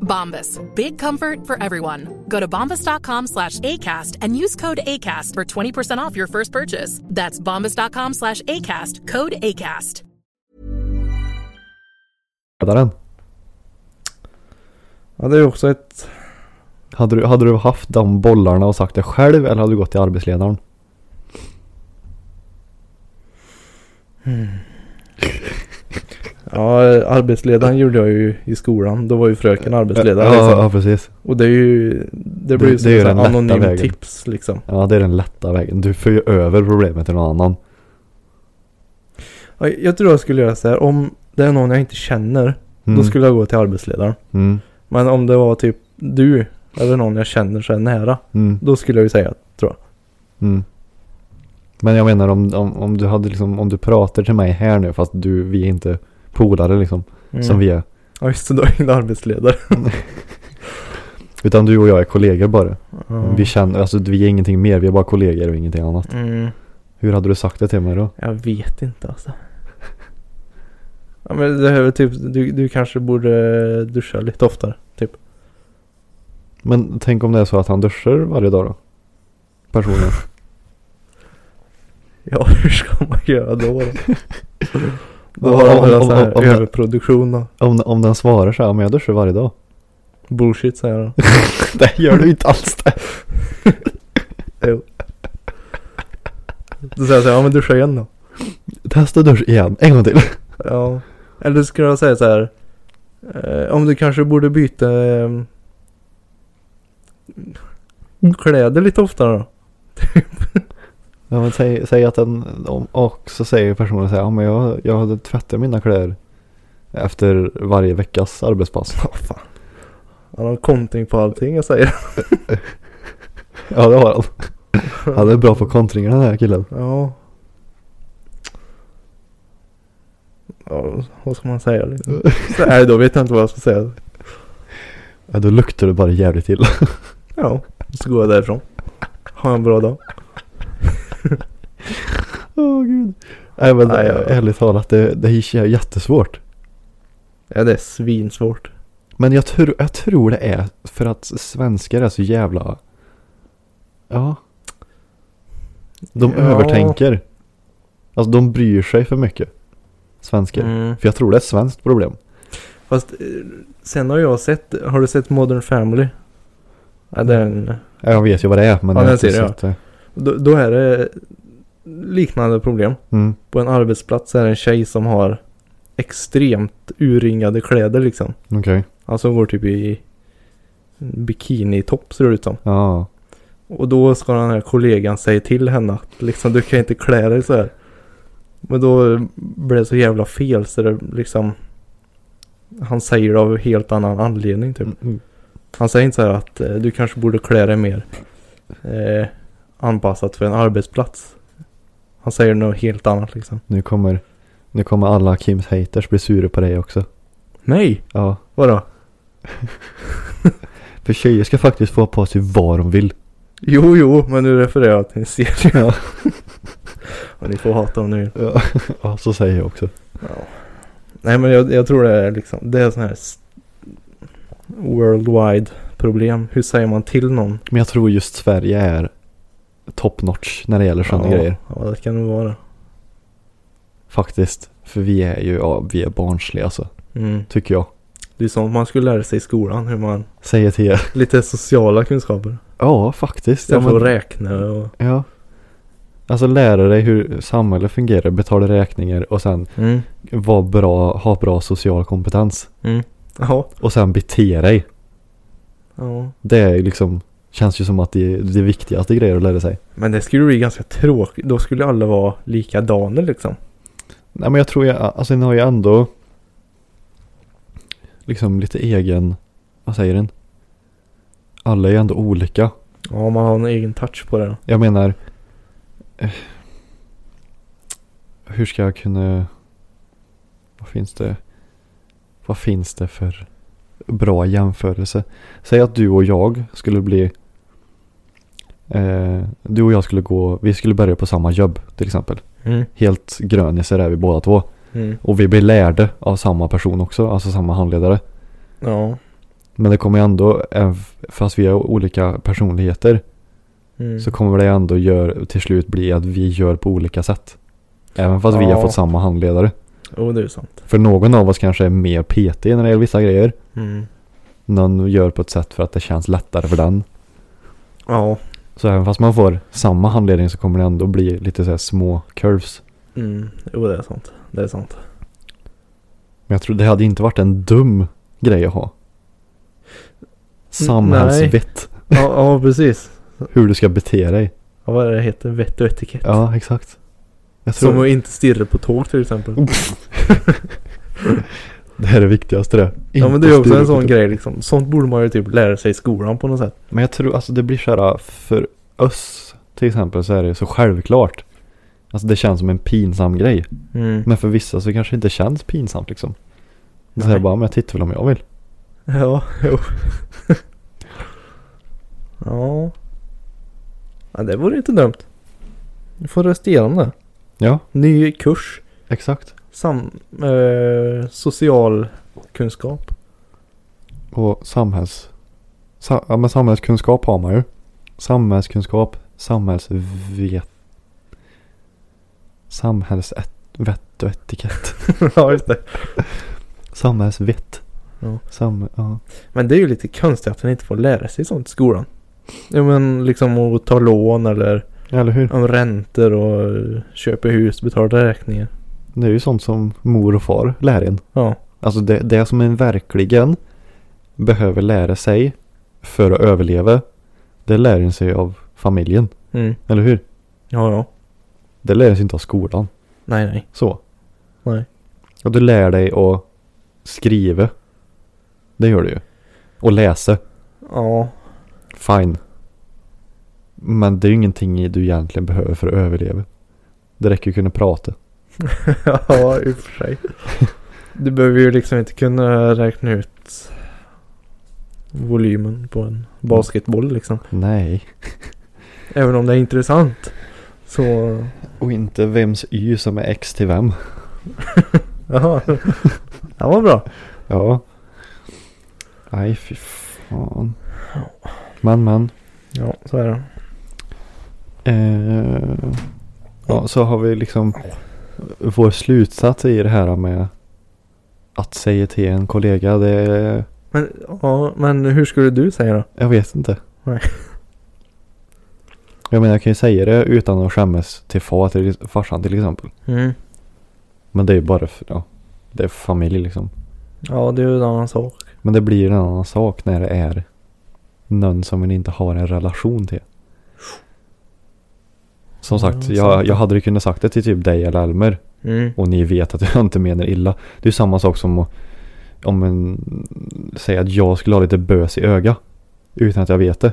Speaker 4: Bombas. Big comfort for everyone. Go to bombas.com slash ACAST and use code ACAST for 20% off your first purchase. That's bombas.com slash ACAST. Code ACAST.
Speaker 1: Ledaren.
Speaker 2: Ja, det är ju också ett...
Speaker 1: Hade du, hade du haft de bollarna och sagt det själv eller hade du gått till arbetsledaren?
Speaker 2: Ja, arbetsledaren gjorde jag ju i skolan. Då var ju fröken arbetsledare.
Speaker 1: Ja,
Speaker 2: liksom.
Speaker 1: ja, precis.
Speaker 2: Och det är ju... Det blir ju
Speaker 1: det
Speaker 2: som
Speaker 1: är ju
Speaker 2: en
Speaker 1: den lätta
Speaker 2: anonym
Speaker 1: vägen.
Speaker 2: tips liksom.
Speaker 1: Ja, det är den lätta vägen. Du för ju över problemet till någon annan.
Speaker 2: Ja, Jag tror jag skulle göra så här. Om det är någon jag inte känner.
Speaker 1: Mm.
Speaker 2: Då skulle jag gå till arbetsledaren.
Speaker 1: Mm.
Speaker 2: Men om det var typ du. Eller någon jag känner så här nära.
Speaker 1: Mm.
Speaker 2: Då skulle jag ju säga tror jag.
Speaker 1: Mm. Men jag menar om, om, om du hade liksom, om du pratar till mig här nu fast du, vi är inte polare liksom.
Speaker 2: Mm.
Speaker 1: Som vi är.
Speaker 2: Ja just det, då är jag inte arbetsledare.
Speaker 1: Utan du och jag är kollegor bara.
Speaker 2: Ja.
Speaker 1: Vi känner, alltså vi är ingenting mer, vi är bara kollegor och ingenting annat.
Speaker 2: Mm.
Speaker 1: Hur hade du sagt det till mig då?
Speaker 2: Jag vet inte alltså. Ja men det här är väl typ, du, du kanske borde duscha lite oftare. Typ.
Speaker 1: Men tänk om det är så att han duschar varje dag då? Personligen.
Speaker 2: Ja hur ska man göra då? Då, då
Speaker 1: Om- om-
Speaker 2: har man en
Speaker 1: om-
Speaker 2: sån här
Speaker 1: om-
Speaker 2: överproduktion av
Speaker 1: Om, om den svarar så här, men jag duschar varje dag.
Speaker 2: bullshit säger de.
Speaker 1: Det gör du inte alls det.
Speaker 2: Då säger jag så här, ja men duscha igen då.
Speaker 1: Testa dusch igen, en gång till.
Speaker 2: Ja. Eller skulle jag säga så här. Eh, om du kanske borde byta eh, kläder lite oftare då.
Speaker 1: Ja, men säg, säg att den, om- och så säger personen så här, ja men jag, jag hade tvättat mina kläder efter varje veckas arbetspass.
Speaker 2: Han har konting på allting jag säger.
Speaker 1: Ja det har han. Han är bra på kontringar den här killen.
Speaker 2: Ja. Ja, vad ska man säga liksom? Så, nej, då vet jag inte vad jag ska säga.
Speaker 1: Ja, då luktar det bara jävligt illa.
Speaker 2: Ja, så går jag därifrån. Ha en bra dag.
Speaker 1: Åh gud. Nej men
Speaker 2: Nej, ja.
Speaker 1: ärligt talat, det, det är ju jättesvårt.
Speaker 2: Ja, det är svinsvårt.
Speaker 1: Men jag, tror jag tror det är för att svenskar är så jävla... Ja. De
Speaker 2: Ja.
Speaker 1: övertänker. Alltså de bryr sig för mycket. Svenskar.
Speaker 2: Mm.
Speaker 1: För jag tror det är ett svenskt problem.
Speaker 2: Fast eh, sen har jag sett, har du sett Modern Family? Ja, den,
Speaker 1: Ja, Jag vet ju vad det är men jag
Speaker 2: Ja,
Speaker 1: har
Speaker 2: den
Speaker 1: inte
Speaker 2: ser jag.
Speaker 1: sett det.
Speaker 2: då, då är det liknande problem.
Speaker 1: Mm.
Speaker 2: På en arbetsplats är det en tjej som har extremt urringade kläder liksom.
Speaker 1: Okej.
Speaker 2: Alltså hon går typ i bikinitopp ser det ut som.
Speaker 1: Ja.
Speaker 2: Och då ska den här kollegan säga till henne att liksom du kan inte klä dig så här. Men då blev det så jävla fel så det liksom han säger det av en helt annan anledning typ.
Speaker 1: Mm.
Speaker 2: Han säger inte så här att eh, du kanske borde klä dig mer eh, anpassat för en arbetsplats. Han säger något helt annat liksom.
Speaker 1: Nu kommer, nu kommer alla Kims haters bli sura på dig också.
Speaker 2: Nej!
Speaker 1: Ja.
Speaker 2: Vadå?
Speaker 1: För tjejer ska faktiskt få ha på sig vad de vill.
Speaker 2: Jo, jo, men nu refererar jag till en serie.
Speaker 1: Ja.
Speaker 2: Och ni får hata om ni vill.
Speaker 1: Ja, ja så säger jag också.
Speaker 2: Nej men jag, jag tror det är liksom, det är sån här s- worldwide problem. Hur säger man till någon?
Speaker 1: Men jag tror just Sverige är top notch när det gäller sådana
Speaker 2: ja,
Speaker 1: grejer.
Speaker 2: Ja det kan nog vara.
Speaker 1: Faktiskt. För vi är ju, ja vi är barnsliga alltså.
Speaker 2: Mm.
Speaker 1: Tycker jag.
Speaker 2: Det är sånt man skulle lära sig i skolan. Hur man,
Speaker 1: Säger till er.
Speaker 2: lite sociala kunskaper.
Speaker 1: Ja faktiskt. Ja,
Speaker 2: Istället för att
Speaker 1: men,
Speaker 2: räkna och...
Speaker 1: ja. Alltså lära dig hur samhället fungerar, betala räkningar och sen
Speaker 2: Mm.
Speaker 1: vara bra, ha bra social kompetens.
Speaker 2: Mm. Ja.
Speaker 1: Och sen bete dig.
Speaker 2: ja.
Speaker 1: Det är ju liksom, känns ju som att det är det viktigaste grejer att lära sig.
Speaker 2: Men det skulle bli ganska tråkigt. Då skulle alla vara likadana liksom.
Speaker 1: Nej men jag tror jag, alltså den har ju ändå liksom lite egen, vad säger den? Alla är ju ändå olika.
Speaker 2: Ja man har en egen touch på det. då.
Speaker 1: Jag menar, eh, hur ska jag kunna, vad finns det, vad finns det för bra jämförelse? Säg att du och jag skulle bli, eh, du och jag skulle gå, vi skulle börja på samma jobb till exempel.
Speaker 2: Mm.
Speaker 1: Helt grönisar är vi båda två.
Speaker 2: Mm.
Speaker 1: Och vi blir lärde av samma person också, alltså samma handledare.
Speaker 2: Ja.
Speaker 1: Men det kommer ju ändå, även f- fast vi har olika personligheter,
Speaker 2: Mm.
Speaker 1: så kommer det ändå gör, till slut bli att vi gör på olika sätt. Även fast vi
Speaker 2: Ja.
Speaker 1: har fått samma handledare.
Speaker 2: Jo, det är ju sant.
Speaker 1: För någon av oss kanske är mer petig när det gäller vissa grejer. Någon gör på ett sätt för att det känns lättare för den.
Speaker 2: Ja.
Speaker 1: Så även fast man får samma handledning så kommer det ändå bli lite så här små curves.
Speaker 2: Mm. Jo, det är sant. Det är sant.
Speaker 1: Men jag tror det hade inte varit en dum grej att ha. Samhällsvett.
Speaker 2: Ja, ja precis.
Speaker 1: Hur du ska bete dig.
Speaker 2: Ja, vad är det heter? Vett och etikett.
Speaker 1: Ja, exakt. Jag tror Mm,
Speaker 2: Som att inte stirra på tåg till exempel.
Speaker 1: det här är det viktigaste det.
Speaker 2: Ja men
Speaker 1: Inte
Speaker 2: det är ju också
Speaker 1: styra
Speaker 2: en sån
Speaker 1: upp-
Speaker 2: grej liksom. Sånt borde man ju typ lära sig i skolan på något sätt.
Speaker 1: Men jag tror alltså det blir så här för oss till exempel så är det så självklart. Alltså det känns som en pinsam grej. Men för vissa så kanske det inte känns pinsamt liksom. Så
Speaker 2: Nej.
Speaker 1: jag bara, men jag tittar väl om jag vill.
Speaker 2: Ja, jo. ja. ja. det vore inte dumt. Du får rösta igenom det.
Speaker 1: Ja,
Speaker 2: Ny kurs.
Speaker 1: exakt.
Speaker 2: Sam... Eh, social kunskap.
Speaker 1: Och samhälls... Sa, ja, men samhällskunskap har man ju. Samhällskunskap, samhällsvet... Samhällsvett vett och etikett.
Speaker 2: ja just det.
Speaker 1: Samhällsvett.
Speaker 2: Ja.
Speaker 1: Sam, ja.
Speaker 2: Men det är ju lite konstigt att man inte får lära sig sånt i skolan. Ja men liksom att ta lån eller
Speaker 1: Eller hur?
Speaker 2: om räntor och eh, köpa hus, betala räkningar.
Speaker 1: Det är ju sånt som mor och far lär en.
Speaker 2: Ja.
Speaker 1: Alltså det, det som en verkligen behöver lära sig för att överleva. Det lär en sig av familjen.
Speaker 2: Mm.
Speaker 1: Eller hur?
Speaker 2: Ja ja.
Speaker 1: Det lär en sig inte av skolan.
Speaker 2: Nej nej.
Speaker 1: Så.
Speaker 2: Nej.
Speaker 1: Och du lär dig att skriva. Det gör du ju. Och läsa.
Speaker 2: Ja.
Speaker 1: Fine. Men det är ju ingenting du egentligen behöver för att överleva. Det räcker ju att kunna prata.
Speaker 2: ja, i och för sig. Du behöver ju liksom inte kunna räkna ut volymen på en basketboll liksom.
Speaker 1: Nej.
Speaker 2: Även om det är intressant. Så,
Speaker 1: Och inte vems y som är x till vem.
Speaker 2: jaha. Det var bra.
Speaker 1: Ja. Nej, fy fan. Men, men.
Speaker 2: Ja, så är det.
Speaker 1: Eh, ja, så har vi liksom vår slutsats i det här med att säga till en kollega. Det,
Speaker 2: Men, ja, men hur skulle du säga då?
Speaker 1: jag vet inte.
Speaker 2: Nej.
Speaker 1: Jag menar, jag kan ju säga det utan att skämmas till far, till farsan till exempel.
Speaker 2: Mm.
Speaker 1: Men det är ju bara, för, ja, det är familj liksom.
Speaker 2: Ja, det är ju en annan sak.
Speaker 1: Men det blir en annan sak när det är någon som man inte har en relation till. Som
Speaker 2: Ja,
Speaker 1: sagt,
Speaker 2: sant.
Speaker 1: jag, jag hade ju kunnat sagt det till typ dig eller Elmer
Speaker 2: Mm.
Speaker 1: och ni vet att jag inte menar illa. Det är ju samma sak som att om en, säga att jag skulle ha lite bös i öga utan att jag vet det.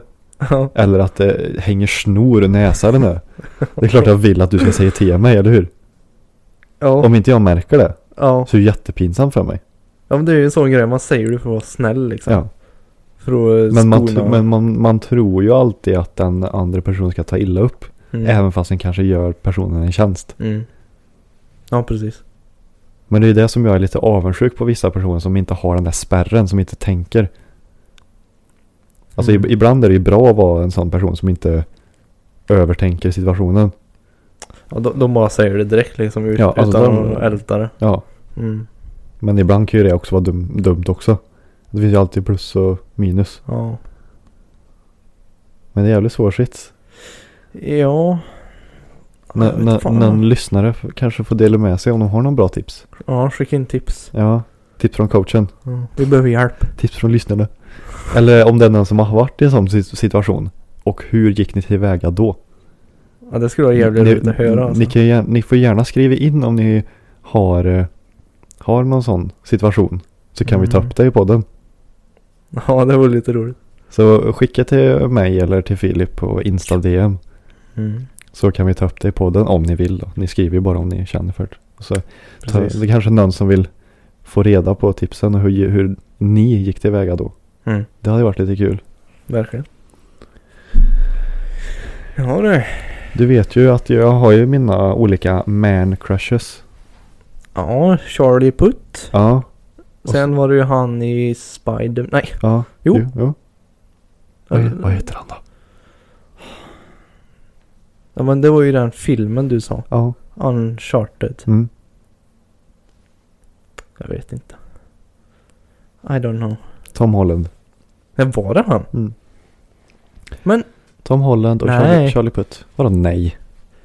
Speaker 2: Ja,
Speaker 1: Eller att det hänger snor i näsan nu. Det är klart jag vill att du ska säga till mig, eller hur?
Speaker 2: ja,
Speaker 1: Om inte jag märker det
Speaker 2: ja.
Speaker 1: så är det jättepinsamt för mig.
Speaker 2: ja men det är ju en sån grej. Man säger det för att vara snäll liksom.
Speaker 1: Ja.
Speaker 2: För att eh,
Speaker 1: Men, man,
Speaker 2: skona-
Speaker 1: tr- men man, man tror ju alltid att den andra personen ska ta illa upp.
Speaker 2: mm.
Speaker 1: Även fast den kanske gör personen en tjänst.
Speaker 2: Mm. Ja, precis.
Speaker 1: Men det är det som jag är lite avundsjuk på vissa personer som inte har den där spärren, som inte tänker. Alltså
Speaker 2: Mm.
Speaker 1: ib- ibland är det ju bra att vara en sån person som inte övertänker situationen.
Speaker 2: Ja, de, de bara säger det direkt liksom ut,
Speaker 1: Ja, alltså
Speaker 2: utan
Speaker 1: de-
Speaker 2: att älta det.
Speaker 1: Ja,
Speaker 2: Mm.
Speaker 1: men ibland kan ju det också vara dum, dumt också. Det finns ju alltid plus och minus.
Speaker 2: Ja.
Speaker 1: Men det är jävligt svår sits.
Speaker 2: Ja.
Speaker 1: N-
Speaker 2: Jag vet
Speaker 1: n-
Speaker 2: fan.
Speaker 1: någon lyssnare f- kanske får dela med sig om de har någon bra tips.
Speaker 2: Ja, skicka in tips.
Speaker 1: Ja, tips från coachen.
Speaker 2: Ja. Vi behöver hjälp.
Speaker 1: Tips från lyssnarna. Eller om det är någon som har varit i en sån sit- situation. Och hur gick ni tillväga då?
Speaker 2: Ja, det skulle vara jävligt roligt att höra alltså.
Speaker 1: Ni, kan, gär- ni får gärna skriva in om ni har, eh, har någon sån situation. Så kan vi ta
Speaker 2: Mm.
Speaker 1: upp det i podden.
Speaker 2: Ja, det var lite roligt.
Speaker 1: Så skicka till mig eller till Filip på Insta DM.
Speaker 2: Mm.
Speaker 1: Så kan vi ta upp det i podden om ni vill. Då. Ni skriver ju bara om ni känner för det. Och Så ta,
Speaker 2: Precis.
Speaker 1: det är kanske någon som vill få reda på tipsen och hur, hur ni gick tillväga då.
Speaker 2: Mm.
Speaker 1: Det hade varit lite kul.
Speaker 2: Verkligen. Ja du.
Speaker 1: Du vet ju att jag har ju mina olika man crushes.
Speaker 2: Ja, Charlie Putt.
Speaker 1: Ja,
Speaker 2: Sen var det ju han i Spider... Nej.
Speaker 1: Ja,
Speaker 2: Jo.
Speaker 1: Alltså- jo. jo. Vad, he- vad heter han då?
Speaker 2: Ja, men det var ju den filmen du sa.
Speaker 1: Ja.
Speaker 2: Uncharted.
Speaker 1: Mm.
Speaker 2: Jag vet inte. I don't know.
Speaker 1: Tom Holland.
Speaker 2: Men var det han?
Speaker 1: Mm.
Speaker 2: Men
Speaker 1: Tom Holland och
Speaker 2: Nej.
Speaker 1: Charlie, Charlie Putt. Vadå nej?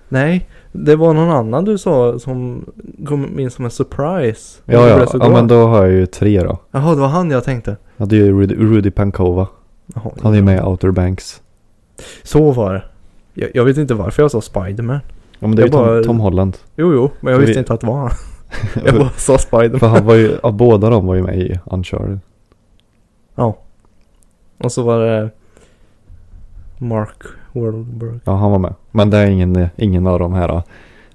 Speaker 2: nej. Det var någon annan du sa som kom in som en surprise. Du
Speaker 1: Ja,
Speaker 2: blev
Speaker 1: ja.
Speaker 2: så
Speaker 1: ja
Speaker 2: glad.
Speaker 1: men då har jag ju tre då.
Speaker 2: Jaha, det var han jag tänkte.
Speaker 1: Ja, det är ju Rudy, Rudy Pankova.
Speaker 2: Jaha,
Speaker 1: Han är ju med i Outer Banks.
Speaker 2: Så var det. Jag, jag vet inte varför jag sa Spiderman.
Speaker 1: Ja, men det är ju
Speaker 2: Jag bara-
Speaker 1: Tom, Tom Holland.
Speaker 2: Jo, jo, men jag
Speaker 1: Vi-
Speaker 2: visste inte att det var han. Jag bara sa
Speaker 1: För
Speaker 2: Spiderman.
Speaker 1: han var ju, ja, båda de var ju med i Uncharted.
Speaker 2: Ja. Och så var det Mark Wahlberg.
Speaker 1: Ja, han var med. Men det är ingen, eh, ingen av de här eh,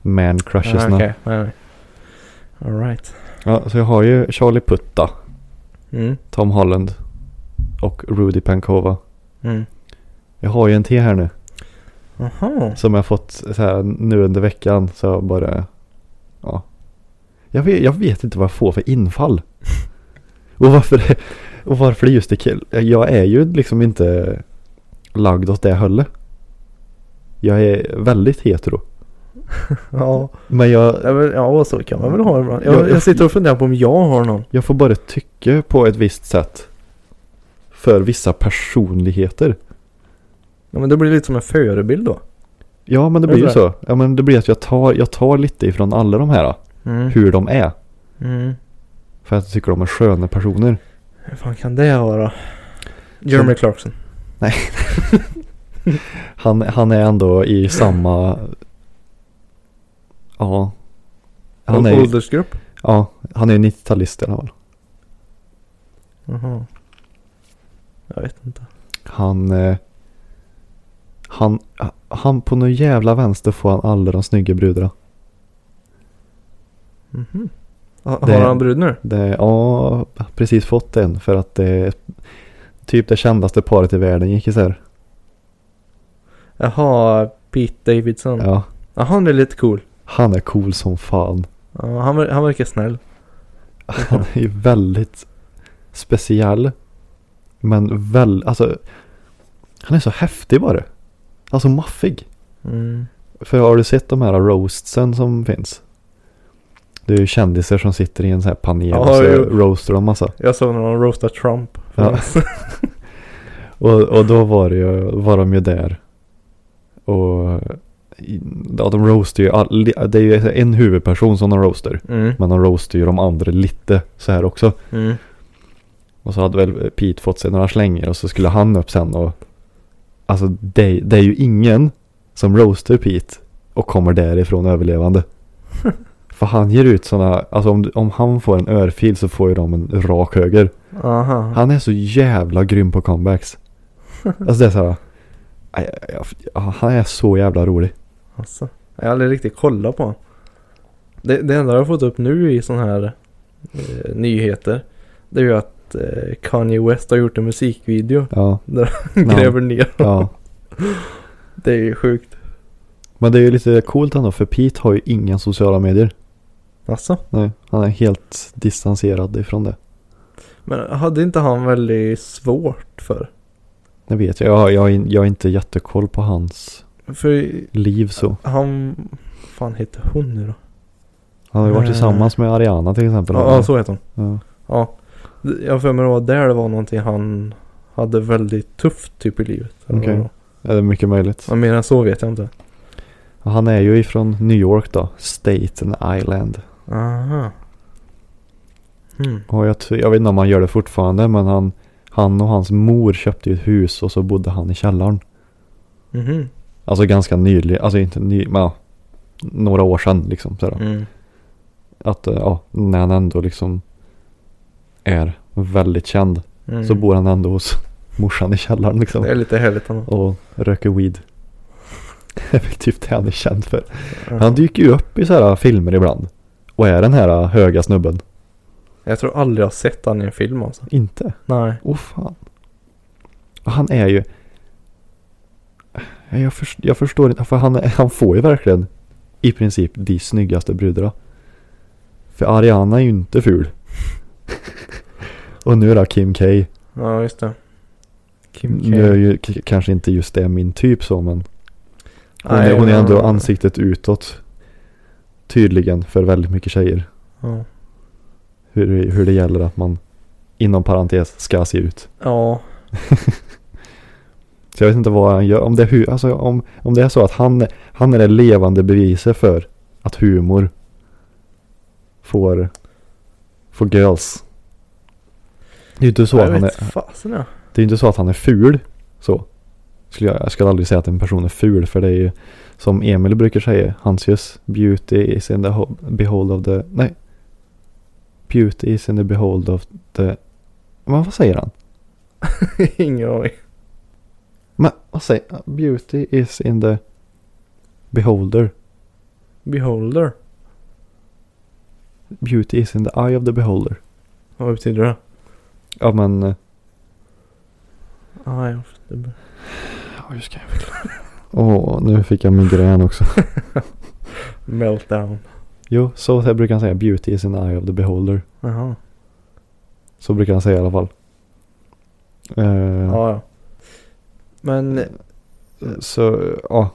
Speaker 1: man crushes.
Speaker 2: Ah, okej. Nej, nej. All right.
Speaker 1: ja, så jag har ju Charlie Putta,
Speaker 2: Mm.
Speaker 1: Tom Holland och Rudy Pankova.
Speaker 2: Mm.
Speaker 1: Jag har ju en till här nu
Speaker 2: Aha.
Speaker 1: som jag fått så här, nu under veckan. Så jag bara, ja. Jag vet, jag vet inte vad jag får för infall. Och varför, det- och varför det just är kill. Jag är ju liksom inte lagd åt det hållet. Jag är väldigt hetero.
Speaker 2: Ja.
Speaker 1: Men jag,
Speaker 2: Ja, men- ja, så kan man väl ha ibland.
Speaker 1: Jag-
Speaker 2: Typ. Jag, jag sitter och funderar på om jag har någon.
Speaker 1: Jag får bara tycka på ett visst sätt. För vissa personligheter.
Speaker 2: Ja, men det blir lite som en förebild då.
Speaker 1: Ja men det
Speaker 2: Är
Speaker 1: blir
Speaker 2: det
Speaker 1: ju så. Ja men det blir att jag tar, jag tar lite ifrån alla de här.
Speaker 2: Mm.
Speaker 1: Hur de är.
Speaker 2: Mm.
Speaker 1: För att jag tycker de är sköna personer.
Speaker 2: Hur fan kan det vara? Jeremy Clarkson.
Speaker 1: Han, han är ändå i samma... Ja. Han är,
Speaker 2: Åldersgrupp.
Speaker 1: ja, han är ju 90-talist i alla fall.
Speaker 2: Jaha. Jag vet inte.
Speaker 1: Han... eh, Han, han på någon jävla vänster får han alla de snygga brudarna.
Speaker 2: Mhm. Ha,
Speaker 1: Det-
Speaker 2: har han brud nu?
Speaker 1: Det, ja, precis fått en för att det typ det kändaste paret i världen gick isär.
Speaker 2: Jaha, Pete Davidson. Ja.
Speaker 1: Ja,
Speaker 2: han är lite cool.
Speaker 1: han är cool som fan.
Speaker 2: Ja, han, ver- han verkar snäll.
Speaker 1: Han är ju väldigt speciell. Men väl, alltså. Han är så häftig bara. Alltså maffig.
Speaker 2: Mm.
Speaker 1: För har du sett de här roastsen som finns? Det är ju kändisar som sitter i en sån här panel
Speaker 2: Ja,
Speaker 1: och så
Speaker 2: jo.
Speaker 1: roastar de massa.
Speaker 2: Jag såg när de roastade Trump.
Speaker 1: Ja. och, och då var, det ju, var de ju där. Och i- ja, de roastar ju, all, det är ju en huvudperson som de roastar.
Speaker 2: Mm.
Speaker 1: Men de roastar ju de andra lite så här också.
Speaker 2: Mm.
Speaker 1: Och så hade väl Pete fått sig några slänger och så skulle han upp sen och Alltså det, det är ju ingen som roastar Pete och kommer därifrån överlevande. För han ger ut sådana, alltså om, du- om han får en örfil så får ju de en rak höger.
Speaker 2: Aha.
Speaker 1: Han är så jävla grym på comebacks. Alltså det är såhär. aj, aj, aj, Han är så jävla rolig.
Speaker 2: Alltså, jag har aldrig riktigt kollat på honom. det, det enda jag har fått upp nu i sådana här eh, nyheter. Det är ju att eh, Kanye West har gjort en musikvideo.
Speaker 1: Ja, Nej.
Speaker 2: Gräver ner.
Speaker 1: ja.
Speaker 2: Det är ju sjukt.
Speaker 1: Men det är ju lite coolt ändå för Pete har ju inga sociala medier.
Speaker 2: Alltså.
Speaker 1: Nej, han är helt distanserad ifrån det.
Speaker 2: Men hade inte han väldigt svårt för?
Speaker 1: Det vet jag. Jag, jag, är- jag har inte jättekoll på hans
Speaker 2: För
Speaker 1: liv så.
Speaker 2: han... fan heter hon nu då?
Speaker 1: Han har ju varit
Speaker 2: Eh.
Speaker 1: tillsammans med Ariana till exempel.
Speaker 2: Ja, alltså. ja, så heter hon.
Speaker 1: Ja.
Speaker 2: Ja. Jag har för mig det var där det var någonting han hade väldigt tufft typ i livet. eller vad
Speaker 1: Okej.
Speaker 2: det var.
Speaker 1: Ja, det är mycket möjligt.
Speaker 2: Ja, mer än så vet jag inte.
Speaker 1: Han är ju ifrån New York då. Staten Island.
Speaker 2: Aha. Hmm.
Speaker 1: Och jag, tror- jag vet inte om han gör det fortfarande men han, han och hans mor köpte ju ett hus och så bodde han i källaren.
Speaker 2: Mhm.
Speaker 1: Alltså ganska nyligen, alltså inte ny, men ja, några år sedan liksom. Sådär.
Speaker 2: Mm.
Speaker 1: Att eh, ja, när han ändå liksom är väldigt känd
Speaker 2: Mm.
Speaker 1: så bor han ändå hos morsan i källaren liksom.
Speaker 2: Det är lite härligt ändå.
Speaker 1: och röker weed. Det är väl typ det han är känd för.
Speaker 2: Ja.
Speaker 1: Han dyker ju upp i så här filmer ibland. Och är den här höga snubben.
Speaker 2: Jag tror aldrig jag har sett han i en film alltså.
Speaker 1: Inte?
Speaker 2: Nej.
Speaker 1: Åh fan. Han är ju... Nej, Jag, förs- jag förstår inte, för han, är- han får ju verkligen i princip de snyggaste brudarna. För Ariana är ju inte ful. Och nu då Kim K.
Speaker 2: Ja, just det. Kim K.
Speaker 1: Nu är ju k- kanske inte just det min typ så men hon,
Speaker 2: Nej,
Speaker 1: är, hon är ändå
Speaker 2: men-
Speaker 1: ansiktet utåt. Tydligen för väldigt mycket tjejer.
Speaker 2: Ja.
Speaker 1: Hur, hur det gäller att man inom parentes ska se ut.
Speaker 2: ja.
Speaker 1: Så jag vet inte vad han gör. Om det, är hu- alltså, om, om det är så att han, han är det levande beviset för att humor får, får girls. Det är ju inte så
Speaker 2: jag
Speaker 1: att han är,
Speaker 2: vet fasen ja.
Speaker 1: det är ju inte så att han är ful. Så. Skulle jag, jag skulle aldrig säga att en person är ful för det är ju som Emil brukar säga. Hans just beauty is in the ho- behold of the... Nej. Beauty is in the behold of the... Men vad säger han?
Speaker 2: Ingen aning.
Speaker 1: Men vad säger Beauty is in the beholder.
Speaker 2: Beholder.
Speaker 1: Beauty is in the eye of the beholder.
Speaker 2: Vad betyder det?
Speaker 1: Ja men... eh,
Speaker 2: Ah, jag fattar.
Speaker 1: Åh, nu fick jag migrän också.
Speaker 2: Meltdown.
Speaker 1: Jo, så här brukar han säga. Beauty is in the eye of the beholder.
Speaker 2: Jaha.
Speaker 1: Så brukar han säga i alla fall. Eh,
Speaker 2: Ja, ja. Men
Speaker 1: Så, ja.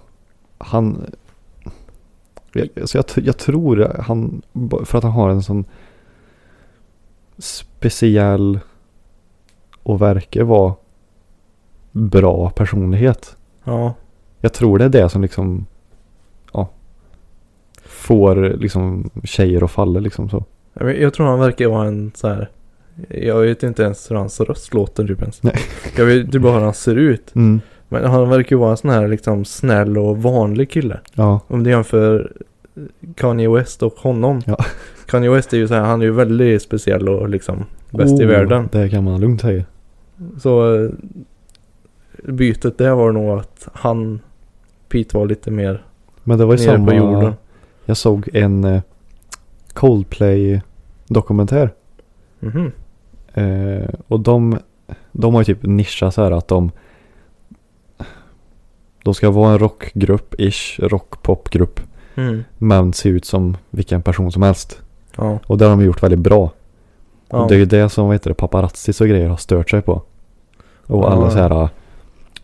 Speaker 1: Han... jag- Så jag, t- jag tror han, för att han har en sån speciell och verkar vara bra personlighet.
Speaker 2: ja.
Speaker 1: Jag tror det är det som liksom, ja, får liksom tjejer att falla liksom så.
Speaker 2: Jag vet- jag tror han verkar vara en så här. Jag vet inte ens hur hans röst låter typ ens.
Speaker 1: Nej.
Speaker 2: Jag vet typ bara hur han ser ut.
Speaker 1: Mm.
Speaker 2: Men han verkar ju vara en sån här liksom snäll och vanlig kille.
Speaker 1: Ja,
Speaker 2: Om du jämför Kanye West och honom.
Speaker 1: Ja.
Speaker 2: Kanye West är ju så här, han är ju väldigt speciell och liksom bäst i
Speaker 1: Oh,
Speaker 2: världen.
Speaker 1: Det kan man lugnt säga.
Speaker 2: Så eh, bytet där var nog att han, Pete var lite mer
Speaker 1: Men det var ju
Speaker 2: nere på jorden.
Speaker 1: samma, jag såg en eh, Coldplay-dokumentär.
Speaker 2: Mhm.
Speaker 1: Eh, och de, de har ju typ nischat så här att de de ska vara en rockgrupp-ish, rockpopgrupp.
Speaker 2: Mm.
Speaker 1: Men se ut som vilken person som helst.
Speaker 2: Ja.
Speaker 1: Och det har de gjort väldigt bra.
Speaker 2: ja.
Speaker 1: Och det är ju det som vad heter det, paparazzis och grejer har stört sig på. Och
Speaker 2: Ja.
Speaker 1: alla så här äh,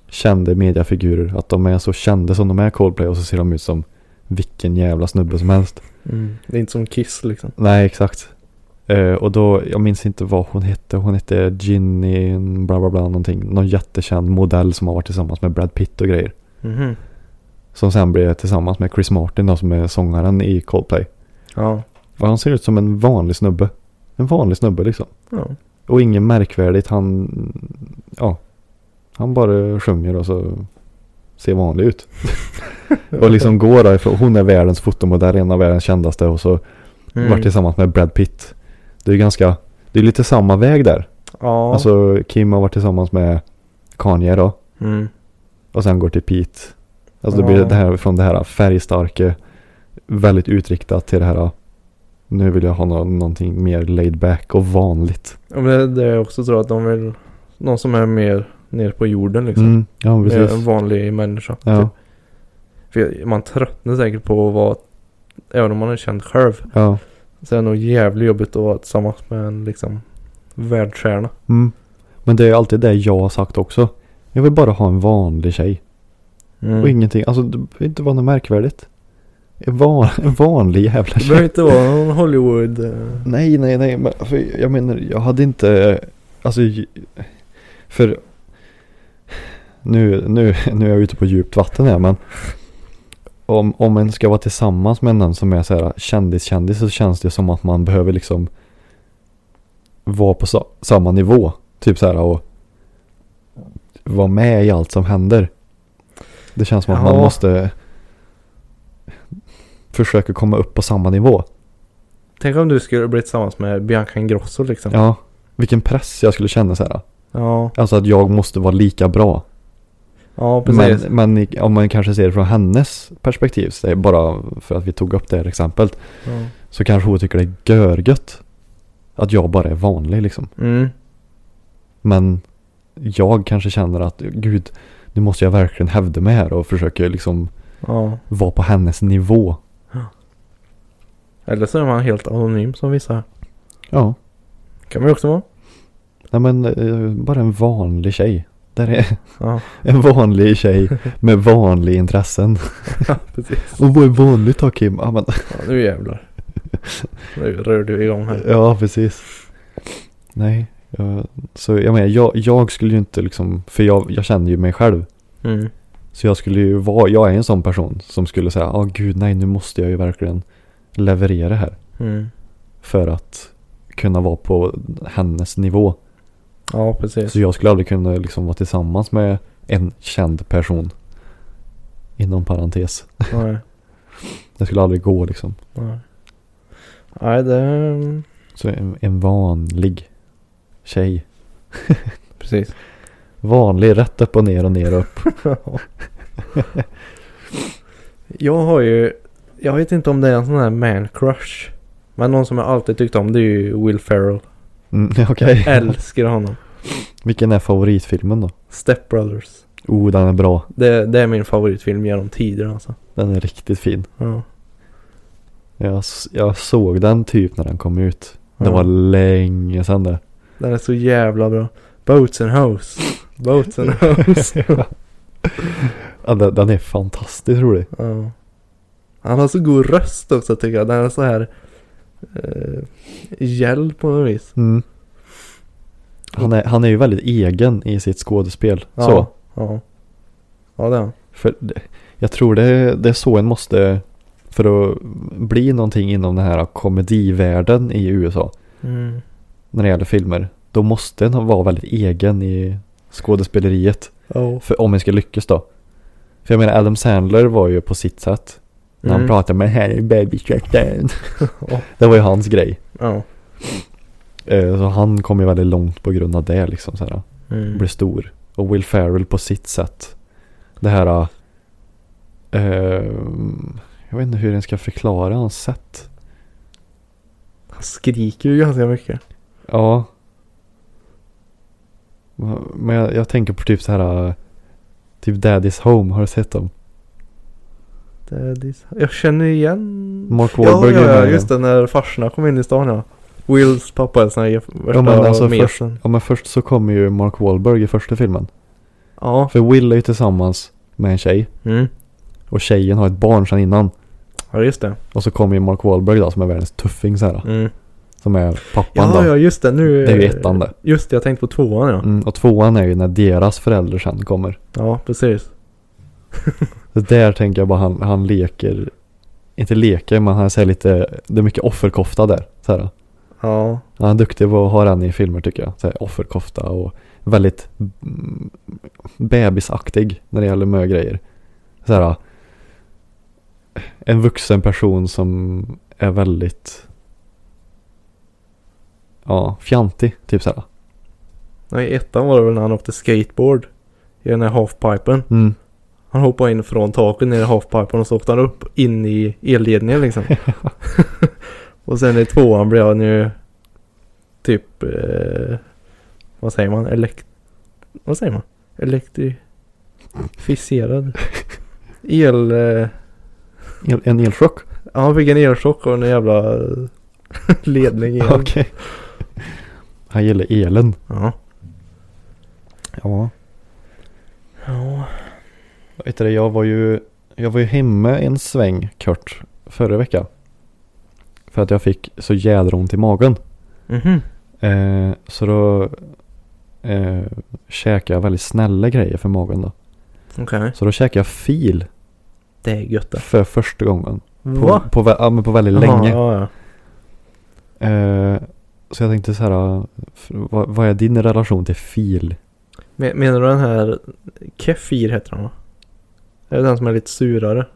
Speaker 1: kända mediafigurer. Att de är så kända som de är Coldplay och så ser de ut som vilken jävla snubbe som helst.
Speaker 2: Mm. det är inte som Kiss liksom.
Speaker 1: Nej, exakt. Eh, och då, jag minns inte vad hon hette. Hon hette Ginny, bla bla bla någonting. Någon jättekänd modell som har varit tillsammans med Brad Pitt och grejer.
Speaker 2: Mhm.
Speaker 1: Som sen blev tillsammans med Chris Martin då, som är sångaren i Coldplay.
Speaker 2: Ja.
Speaker 1: Och han ser ut som en vanlig snubbe. En vanlig snubbe liksom.
Speaker 2: ja.
Speaker 1: Och inget märkvärdigt. Han, ja. Han bara sjunger och så ser vanlig ut. och liksom går därifrån. Hon är världens fotomodell, en av världens kändaste. Och så
Speaker 2: Mm.
Speaker 1: varit tillsammans med Brad Pitt. Det är ganska, det är lite samma väg där.
Speaker 2: Ja.
Speaker 1: Alltså Kim har varit tillsammans med Kanye då.
Speaker 2: Mm.
Speaker 1: Och sen går till Pete. Alltså det blir
Speaker 2: Ja.
Speaker 1: det här från det här färgstarka, väldigt utriktat till det här. Nu vill jag ha nå- någonting mer laid back och vanligt.
Speaker 2: Ja, men det, det är också så att de vill, någon som är mer nere på jorden liksom.
Speaker 1: Mm, ja,
Speaker 2: Mer en
Speaker 1: precis.
Speaker 2: vanlig människa.
Speaker 1: Ja,
Speaker 2: Typ. För jag- man tröttnar säkert på att vara, även om man är känd själv,
Speaker 1: ja.
Speaker 2: så är det nog jävligt jobbigt att vara tillsammans med en liksom världsstjärna.
Speaker 1: Mm. Men det är alltid det jag har sagt också. Jag vill bara ha en vanlig tjej.
Speaker 2: Mm.
Speaker 1: Och ingenting, alltså det behöver inte vara något märkvärdigt. En, van, en vanlig jävla
Speaker 2: Det
Speaker 1: tjej.
Speaker 2: behöver inte vara någon Hollywood. eh,
Speaker 1: Nej, nej, nej. Men för jag menar, jag hade inte... Alltså... j- För... Nu, nu, nu är jag ute på djupt vatten här, men... Om, om en ska vara tillsammans med någon som är så här kändis-kändis så känns det som att man behöver liksom vara på sa- samma nivå. Typ så här och vara med i allt som händer. Det känns som att man
Speaker 2: Ja.
Speaker 1: måste försöka komma upp på samma nivå.
Speaker 2: Tänk om du skulle bli tillsammans med Bianca Ingrosso liksom.
Speaker 1: Ja, vilken press jag skulle känna så här.
Speaker 2: Ja,
Speaker 1: Alltså att jag måste vara lika bra.
Speaker 2: ja precis.
Speaker 1: Men, men i- om man kanske ser det från hennes perspektiv, så det är bara för att vi tog upp det här exemplet,
Speaker 2: Ja.
Speaker 1: så kanske hon tycker det är görgött. Att jag bara är vanlig liksom.
Speaker 2: Mm.
Speaker 1: Men jag kanske känner att gud, nu måste jag verkligen hävda mig här och försöka liksom
Speaker 2: Ja.
Speaker 1: vara på hennes nivå.
Speaker 2: Eller så är man helt anonym som vissa.
Speaker 1: Ja,
Speaker 2: Kan man ju också vara.
Speaker 1: Nej men eh, bara en vanlig tjej. Där är
Speaker 2: Ja,
Speaker 1: en vanlig tjej med vanliga intressen.
Speaker 2: precis.
Speaker 1: Och vad är vanligt då Kim? Ja, men,
Speaker 2: Ja, nu jävlar. Nu rör du igång här.
Speaker 1: ja precis. Nej. Jag, så jag menar jag, jag skulle ju inte liksom. För jag, jag känner ju mig själv.
Speaker 2: Mm.
Speaker 1: Så jag skulle ju vara. Jag är en sån person som skulle säga. Ja gud nej nu måste jag ju verkligen leverera här.
Speaker 2: Mm.
Speaker 1: För att kunna vara på hennes nivå.
Speaker 2: Ja, precis.
Speaker 1: Så jag skulle aldrig kunna liksom vara tillsammans med en känd person. Inom parentes.
Speaker 2: Nej,
Speaker 1: Det skulle aldrig gå liksom.
Speaker 2: nej. Nej, det...
Speaker 1: Så en, en vanlig tjej.
Speaker 2: Precis.
Speaker 1: Vanlig rätt upp och ner och ner och upp.
Speaker 2: jag har ju... Jag vet inte om det är en sån här man crush. Men någon som jag alltid tyckt om det är ju Will Ferrell.
Speaker 1: Mm, Okej.
Speaker 2: Älskar honom.
Speaker 1: Vilken är favoritfilmen då?
Speaker 2: Step Brothers.
Speaker 1: Oh den är bra.
Speaker 2: Det, det är min favoritfilm genom tiderna alltså.
Speaker 1: Den är riktigt fin.
Speaker 2: Ja.
Speaker 1: Jag, s- jag såg den typ när den kom ut. Det
Speaker 2: Ja.
Speaker 1: var länge sedan det.
Speaker 2: Den är så jävla bra. Boats and Hoes. Boats and Hoes.
Speaker 1: Ja, den, den är fantastiskt rolig.
Speaker 2: ja. Han har så god röst också tycker jag. Den är så här... Eh, gäll på något vis.
Speaker 1: Mm. Han, är, han är ju väldigt egen i sitt skådespel.
Speaker 2: Ja,
Speaker 1: Så.
Speaker 2: Ja. Ja det är han.
Speaker 1: För det- jag tror det, det är så en måste för att bli någonting inom den här komedivärlden i USA
Speaker 2: Mm.
Speaker 1: när det gäller filmer. Då måste en vara väldigt egen i skådespeleriet
Speaker 2: Ja.
Speaker 1: för, om en ska lyckas då. För jag menar Adam Sandler var ju på sitt sätt. När han
Speaker 2: Mm.
Speaker 1: pratade med Harry Babyshacken. det var ju hans grej.
Speaker 2: Ja.
Speaker 1: Eh, Så han kom ju väldigt långt på grund av det liksom. Så här.
Speaker 2: Mm.
Speaker 1: blir stor. Och Will Ferrell på sitt sätt. Det här... eh, jag vet inte hur den ska förklara hans sätt.
Speaker 2: Han skriker ju ganska mycket.
Speaker 1: Ja. Men jag, jag tänker på typ så här... eh, Typ Daddy's Home, har du sett dem?
Speaker 2: Daddy's... Jag känner igen...
Speaker 1: Mark
Speaker 2: Ja, ja,
Speaker 1: Wahlberg är med
Speaker 2: ja,
Speaker 1: i
Speaker 2: just
Speaker 1: den.
Speaker 2: det. När farsorna kom in i stan ja. Wills pappa är sån här värsta
Speaker 1: Ja, men alltså
Speaker 2: mesen.
Speaker 1: Ja men först så kommer ju Mark Wahlberg i första filmen.
Speaker 2: Ja.
Speaker 1: För Will är ju tillsammans med en tjej.
Speaker 2: Mm.
Speaker 1: Och tjejen har ett barn sedan innan.
Speaker 2: Ja, just det.
Speaker 1: Och så kommer ju Mark Wahlberg då som är världens tuffing så här.
Speaker 2: Mm.
Speaker 1: Som är pappan då.
Speaker 2: Ja, ja, just det. Nu...
Speaker 1: Det är ju ettan det.
Speaker 2: Just det, jag tänkte på tvåan ja.
Speaker 1: Mm, och tvåan är ju när deras föräldrar sen kommer.
Speaker 2: Ja, precis.
Speaker 1: Så där tänker jag bara han, han leker, inte leker men han säger lite, det är mycket offerkofta där. Så här.
Speaker 2: Ja.
Speaker 1: Han är duktig på att ha den i filmer tycker jag. Så här, offerkofta och väldigt mm, bebisaktig när det gäller med grejer. Så här, en vuxen person som är väldigt ja, fjantig typ så här.
Speaker 2: Nej, i ettan var det väl när han åkte skateboard. I den här halfpipen.
Speaker 1: Mm.
Speaker 2: Han hoppade in från taket ner i halfpipen och så åkte han upp in i elledningen liksom. och sen i tvåan blev han ju typ, eh, vad säger man, elekt... Vad säger man? Elektrificerad. El... Eh,
Speaker 1: En, en elchock.
Speaker 2: ja, han fick en elchock och en jävla eh, ledning igen.
Speaker 1: Okej. Han gillar elen.
Speaker 2: Ja.
Speaker 1: Ja.
Speaker 2: Ja.
Speaker 1: Vet du, det, jag var ju, jag var ju hemma en sväng kort förra veckan. För att jag fick så jädra ont i magen.
Speaker 2: Mhm.
Speaker 1: Eh, så då eh, käkade jag väldigt snälla grejer för magen då.
Speaker 2: Okej.
Speaker 1: Så då käkade jag fil
Speaker 2: Det är gött det.
Speaker 1: för första gången. På,
Speaker 2: Va?
Speaker 1: på, vä- ja, men på väldigt länge.
Speaker 2: Jaha, ja, ja.
Speaker 1: Eh, så jag tänkte så här, eh, f- vad, vad är din relation till fil?
Speaker 2: Men- Menar du den här Kefir heter den va? Är det den som är lite surare?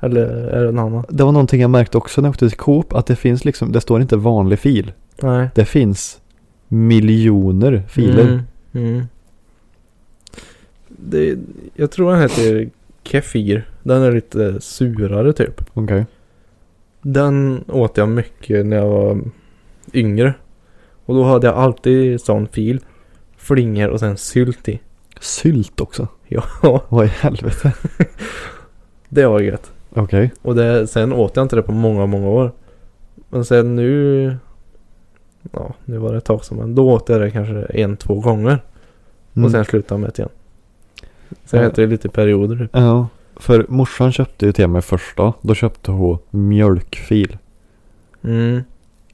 Speaker 2: Eller är det en annan?
Speaker 1: Det var någonting jag märkte också när jag åkte till Coop att det finns liksom, det står inte vanlig fil.
Speaker 2: Nej.
Speaker 1: Det finns miljoner filer.
Speaker 2: Mm. mm. Det, jag tror den heter Kefir. Den är lite surare typ.
Speaker 1: Okej.
Speaker 2: Den åt jag mycket när jag var yngre. Och då hade jag alltid sån fil. Flingor och sen sylt i.
Speaker 1: Sylt också.
Speaker 2: Ja,
Speaker 1: Vad i helvete.
Speaker 2: det var gött.
Speaker 1: Okej.
Speaker 2: Och det, sen åt jag inte det på många, många år. Men sen nu ja, nu var det ett tag sedan men då åt jag det kanske en, två gånger.
Speaker 1: Mm.
Speaker 2: Och sen slutade jag med det igen. Så jag
Speaker 1: Ja.
Speaker 2: äter ju lite i perioder typ.
Speaker 1: Mm. Ja, för morsan köpte ju till mig första. Då köpte hon mjölkfil.
Speaker 2: Mm.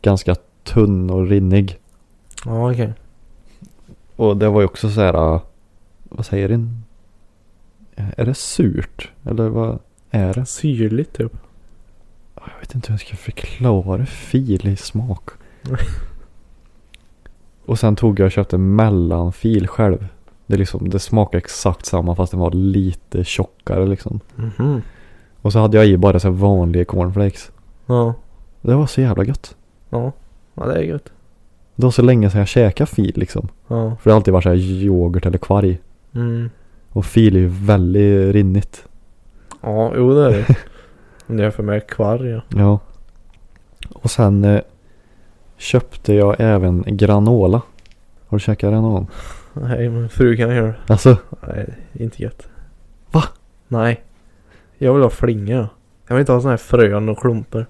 Speaker 1: Ganska tunn och rinnig.
Speaker 2: Ja okej.
Speaker 1: Och det var ju också så här. äh, Vad säger din? Är det surt? Eller vad är det?
Speaker 2: Syrligt typ.
Speaker 1: Jag vet inte hur jag ska förklara fil i smak.
Speaker 2: Nej.
Speaker 1: och sen tog jag och köpte mellanfil själv. Det, är liksom, det smakar exakt samma fast den var lite tjockare liksom.
Speaker 2: Mhm.
Speaker 1: Och så hade jag i bara så här vanliga cornflakes.
Speaker 2: Ja.
Speaker 1: Det var så jävla gött.
Speaker 2: Ja. Ja det är gött.
Speaker 1: Det var så länge sedan jag käkade fil liksom.
Speaker 2: Ja.
Speaker 1: För det har alltid varit så här yoghurt eller kvarg.
Speaker 2: Mm.
Speaker 1: Och fil är ju väldigt rinnigt.
Speaker 2: Ja jo det är det. Om du jämför med kvarg ja.
Speaker 1: Ja. Och sen eh, köpte jag även granola. Har du käkat granola?
Speaker 2: Nej men frugan gör det.
Speaker 1: Alltså,
Speaker 2: Nej, inte gött.
Speaker 1: Va?
Speaker 2: Nej. Jag vill ha flinga. Jag vill inte ha såna här frön och klumpor.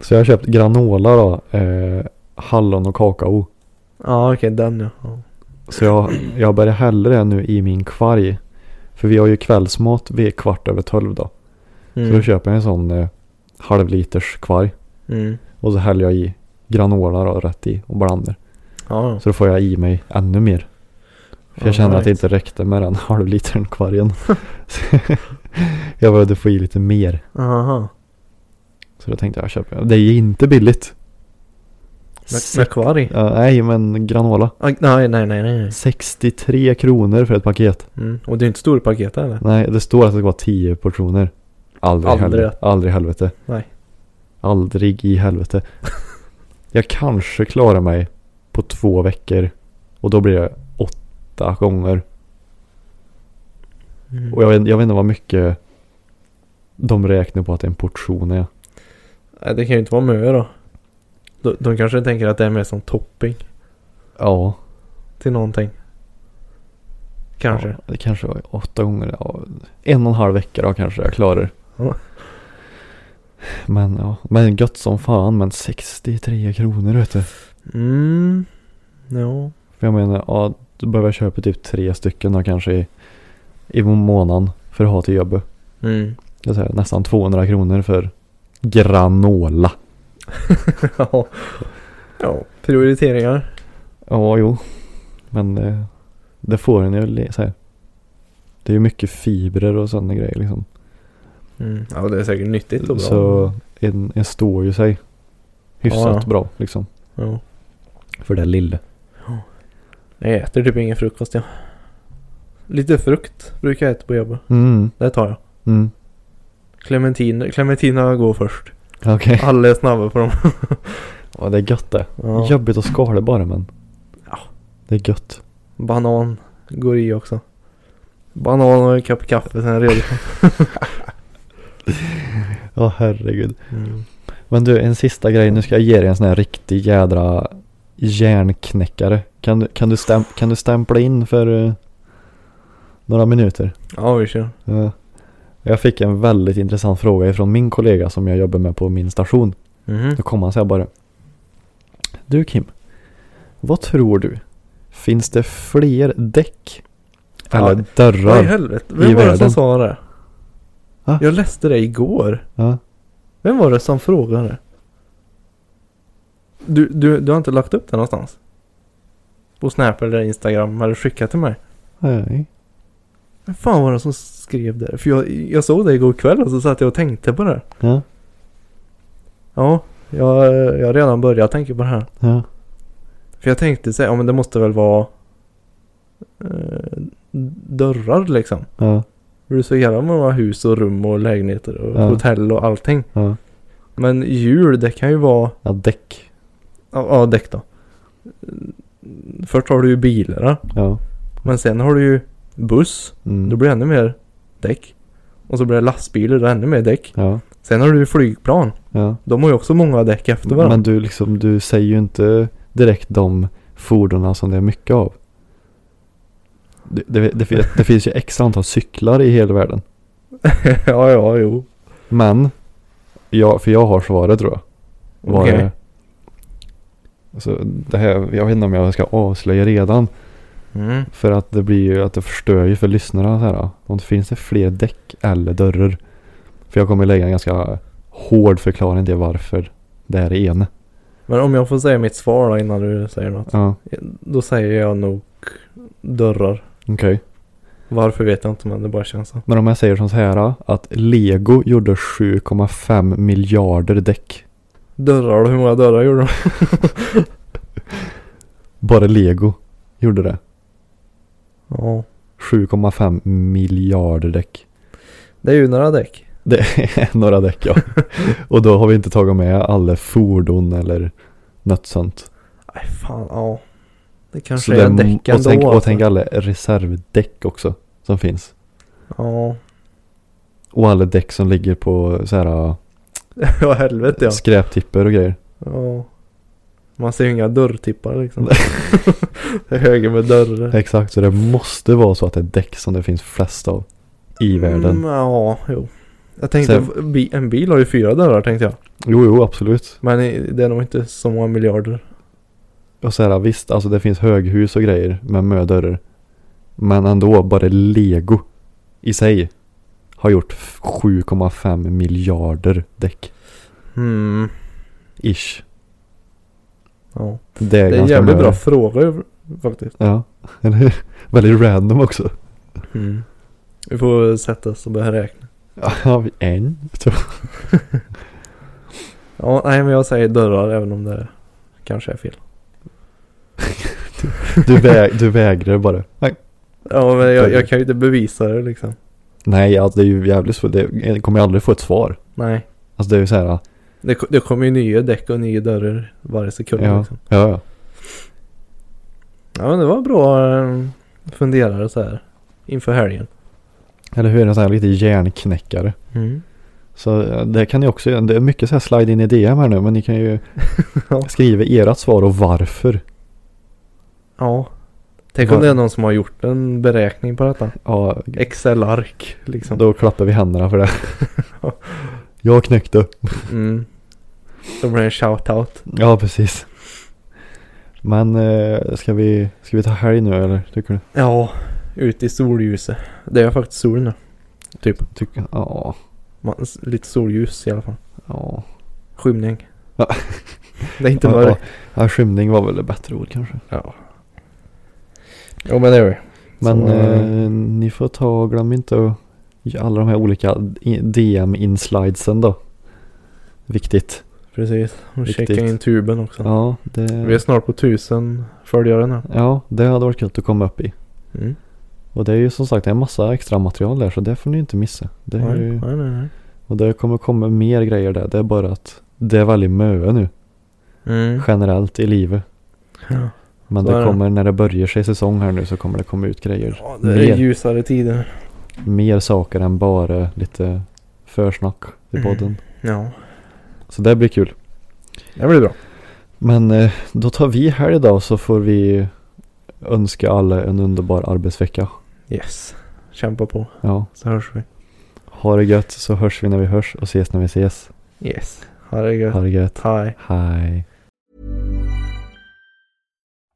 Speaker 1: så jag har köpt granola då. Eh, hallon och kakao.
Speaker 2: Ja okej den ja. ja.
Speaker 1: Så jag, jag börjar hälla det nu i min kvarg. För vi har ju kvällsmat vid kvart över tolv då. Så
Speaker 2: Mm.
Speaker 1: då köper jag en sån eh, halvliters kvarg.
Speaker 2: Mm.
Speaker 1: Och så häller jag i granola då rätt i och blandar.
Speaker 2: Ja, ja.
Speaker 1: Så då får jag i mig ännu mer. För jag
Speaker 2: Ja,
Speaker 1: kände att det
Speaker 2: nice.
Speaker 1: inte räckte med den halvlitern kvargen. Så jag behövde få i lite mer.
Speaker 2: Aha.
Speaker 1: Så då tänkte jag köpa. Det är ju inte billigt.
Speaker 2: Med, med kvarg?
Speaker 1: Ja, nej men granola.
Speaker 2: Ah, nej, nej, nej, nej.
Speaker 1: 63 kronor för ett paket.
Speaker 2: Mm. Och det är inte stora paket eller?
Speaker 1: Nej det står att det ska vara 10 portioner. Aldrig, i
Speaker 2: Aldrig.
Speaker 1: helvete. Aldrig i helvete.
Speaker 2: Nej.
Speaker 1: Aldrig i helvete. jag kanske klarar mig på två veckor. Och då blir det åtta gånger.
Speaker 2: Mm.
Speaker 1: Och jag vet, jag vet inte vad mycket de räknar på att en portion är.
Speaker 2: Nej, det kan ju inte vara mö då. De, de kanske tänker att det är mer som topping
Speaker 1: Ja.
Speaker 2: till någonting. Kanske.
Speaker 1: Ja, det kanske var åtta gånger. Ja, en och en halv vecka då kanske jag klarar.
Speaker 2: Ja.
Speaker 1: Men ja, men gött som fan. Men 63 kronor vet du.
Speaker 2: Mm. Ja.
Speaker 1: För jag menar, ja, då behöver jag köpa typ tre stycken då kanske i, i månaden för att ha till jobbet.
Speaker 2: Mm.
Speaker 1: Jag säger nästan 200 kronor för granola.
Speaker 2: ja. Ja. Prioriteringar.
Speaker 1: Ja, jo. Men det, det får en ju le- så här. Det är ju mycket fibrer och sådana grejer liksom.
Speaker 2: Mm. Ja, det är säkert nyttigt och bra.
Speaker 1: Så en, en står ju sig hyfsat
Speaker 2: Ja, ja.
Speaker 1: bra liksom.
Speaker 2: Ja.
Speaker 1: För det lille.
Speaker 2: Jag äter typ ingen frukost jag. Lite frukt brukar jag äta på jobbet.
Speaker 1: Mm,
Speaker 2: Det tar jag.
Speaker 1: mm.
Speaker 2: Clementiner, clementinerna går först.
Speaker 1: Okej.
Speaker 2: Alla är snabba på dem.
Speaker 1: Ja, det är gött det.
Speaker 2: Ja.
Speaker 1: Jobbigt att skala bara men.
Speaker 2: Ja.
Speaker 1: Det är gött.
Speaker 2: Banan går i också. Banan och en kopp kaffe sen redo.
Speaker 1: Ja, herregud.
Speaker 2: Mm.
Speaker 1: Men du, en sista grej. Nu ska jag ge dig en sån här riktig jädra hjärnknäckare. Kan du, kan du, stäm, kan du stämpla in för eh, några minuter?
Speaker 2: Ja vi kör.
Speaker 1: Ja. Eh, Jag fick en väldigt intressant fråga ifrån min kollega som jag jobbar med på min station.
Speaker 2: Mhm.
Speaker 1: Då kom han säga bara. Du Kim, vad tror du? Finns det fler däck eller
Speaker 2: Ja, Vad i
Speaker 1: dörrar?
Speaker 2: helvete?
Speaker 1: I
Speaker 2: Vem var det
Speaker 1: världen.
Speaker 2: som sa det?
Speaker 1: Va?
Speaker 2: Jag läste det igår.
Speaker 1: Ja.
Speaker 2: Vem var det som frågade? Du, du, du har inte lagt upp det någonstans? På Snap eller Instagram eller skickat till mig?
Speaker 1: Nej.
Speaker 2: Vem fan var det som skrev det? För jag, jag såg det igår kväll och så satt jag och tänkte på det.
Speaker 1: Ja.
Speaker 2: Ja, jag, jag har redan börjat tänka på det här.
Speaker 1: Ja.
Speaker 2: För jag tänkte så här, ja men det måste väl vara eh, dörrar liksom.
Speaker 1: Ja.
Speaker 2: För det är så jävla många hus och rum och lägenheter och
Speaker 1: Ja.
Speaker 2: hotell och allting.
Speaker 1: Ja.
Speaker 2: Men hjul det kan ju vara,
Speaker 1: ja däck.
Speaker 2: ja, ja däck då. Först har du ju bilar då.
Speaker 1: Ja.
Speaker 2: men sen har du ju buss. Då
Speaker 1: Mm.
Speaker 2: blir det ännu mer däck. Och så blir det lastbilar, då är det ännu mer däck.
Speaker 1: Ja.
Speaker 2: Sen har du ju flygplan.
Speaker 1: Ja.
Speaker 2: De har ju också många däck efter varandra.
Speaker 1: Men du liksom, du säger ju inte direkt de fordonen som det är mycket av. Det, det, det, fin- det finns ju x antal cyklar i hela världen.
Speaker 2: ja, ja, jo.
Speaker 1: Men, ja, för jag har svaret tror jag. Var
Speaker 2: Okej.
Speaker 1: det Så det här, jag vet inte om jag ska avslöja redan.
Speaker 5: Mm.
Speaker 1: För att det blir ju att det förstör ju för lyssnarna så här. Om det finns det fler däck eller dörrar. För jag kommer lägga en ganska hård förklaring till varför det här är en.
Speaker 2: Men om jag får säga mitt svar då innan du säger något.
Speaker 1: Ja,
Speaker 2: Då säger jag nog dörrar.
Speaker 1: okej.
Speaker 2: Varför vet jag inte men det bara känns så.
Speaker 1: Men om jag säger som så här att Lego gjorde 7,5 miljarder däck.
Speaker 2: Dörrar då? Hur många dörrar gjorde de?
Speaker 1: Bara Lego gjorde det.
Speaker 2: Ja.
Speaker 1: 7,5 miljarder däck.
Speaker 2: Det är ju några däck.
Speaker 1: Det är några däck ja. Och då har vi inte tagit med alla fordon eller något sånt.
Speaker 2: Nej fan ja. Det
Speaker 1: Så
Speaker 2: kanske
Speaker 1: det
Speaker 2: är
Speaker 1: m-
Speaker 2: däck
Speaker 1: och
Speaker 2: ändå.
Speaker 1: tänk, och
Speaker 2: alltså.
Speaker 1: tänk alla reservdäck också som finns.
Speaker 2: Ja.
Speaker 1: Och alla däck som ligger på så här
Speaker 2: ja helvete ja.
Speaker 1: skräptippar och grejer.
Speaker 2: ja. Man ser ju inga dörrtippar liksom. det är höger med dörrar.
Speaker 1: Exakt, så det måste vara så att det är däck som det finns flest av i världen.
Speaker 2: Mm, ja, jo. Jag tänkte, bi- en bil har ju fyra dörrar tänkte jag.
Speaker 1: Jo, jo, absolut.
Speaker 2: Men i- det är nog inte så många miljarder.
Speaker 1: Och så här, visst, alltså det finns höghus och grejer med mödörrar. Men ändå, bara Lego i sig har gjort f- 7,5 miljarder däck.
Speaker 2: Mm.
Speaker 1: Ish.
Speaker 2: Ja.
Speaker 1: Det är,
Speaker 2: Det är en
Speaker 1: ganska
Speaker 2: jävligt
Speaker 1: många.
Speaker 2: bra fråga ju faktiskt.
Speaker 1: Ja, eller hur? Väldigt random också. Mm.
Speaker 2: Vi får sätta oss och börja räkna.
Speaker 1: Ja, vi- en, två.
Speaker 2: Ja, nej men jag säger dörrar även om det kanske är fel.
Speaker 1: Du, väg, du vägrar bara. Nej.
Speaker 2: Ja men jag, jag kan ju inte bevisa det liksom.
Speaker 1: Nej, alltså det är ju jävligt svårt. Det jag kommer ju aldrig få ett svar.
Speaker 2: Nej.
Speaker 1: Alltså det är ju så här,
Speaker 2: Det, ko- det kommer ju nya däck och nya dörrar varje sekund
Speaker 1: ja,
Speaker 2: liksom.
Speaker 1: ja, ja.
Speaker 2: Ja men det var bra eh, funderare så här. Inför helgen.
Speaker 1: Eller hur? En sån här lite hjärnknäckare. Så eh, det kan ni också göra. Det är mycket så här slide in i DM här nu men ni kan ju
Speaker 2: Ja.
Speaker 1: skriva ert svar och varför.
Speaker 2: Ja. Tänk
Speaker 1: Vad- Mm.
Speaker 2: om det är någon som har gjort en beräkning på detta.
Speaker 1: Ja,
Speaker 2: Excel-ark liksom.
Speaker 1: då klappar vi händerna för det. Jag knäckte.
Speaker 2: Mm. Då blir det en shout-out.
Speaker 1: Ja, precis. Men eh, ska vi, ska vi ta helg nu eller? Tycker du?
Speaker 2: Ja, ut i solljuset. Det är faktiskt sol nu.
Speaker 1: Tycker, ja,
Speaker 2: Man, s- lite solljus i alla fall.
Speaker 1: ja.
Speaker 2: Skymning.
Speaker 1: Ja.
Speaker 2: det är inte
Speaker 1: Ja,
Speaker 2: mörkt.
Speaker 1: ja. Skymning var väl ett bättre ord kanske.
Speaker 2: Ja. Jo men det är vi.
Speaker 1: Men
Speaker 2: Så,
Speaker 1: eh, ni får ta, glöm inte att ge alla de här olika i- DM-inslidesen då. Viktigt.
Speaker 2: Precis. Och
Speaker 1: Riktigt.
Speaker 2: checka in tuben också.
Speaker 1: Ja, det...
Speaker 2: Vi är snart på tusen följare nu.
Speaker 1: Ja, det hade varit kul att komoma upp i.
Speaker 2: Mm.
Speaker 1: Och det är ju som sagt det är en massa extra material där så det får ni inte missa. Det är
Speaker 2: Nej,
Speaker 1: ju,
Speaker 2: nej, nej. nej.
Speaker 1: och det kommer komma mer grejer där. Det är bara att det är väldigt möe nu
Speaker 2: Mm.
Speaker 1: generellt i livet.
Speaker 2: Ja.
Speaker 1: Men
Speaker 2: Så är
Speaker 1: det
Speaker 2: det.
Speaker 1: kommer när det börjar sig säsong här nu så kommer det komma ut grejer.
Speaker 2: Ja, det är
Speaker 1: Mer.
Speaker 2: ljusare tider.
Speaker 1: Mer saker än bara lite försnack i
Speaker 2: Mm.
Speaker 1: podden.
Speaker 2: Ja.
Speaker 1: Så det blir kul.
Speaker 2: Det blir bra.
Speaker 1: Men eh, då tar vi här idag så får vi önska alla en underbar arbetsvecka.
Speaker 2: Yes. Kämpa på.
Speaker 1: Ja,
Speaker 2: Så hörs vi.
Speaker 1: ha det gött så hörs vi när vi hörs och ses när vi ses.
Speaker 2: Yes. Ha det gött.
Speaker 1: Ha det gött.
Speaker 2: Hej.
Speaker 1: Hej.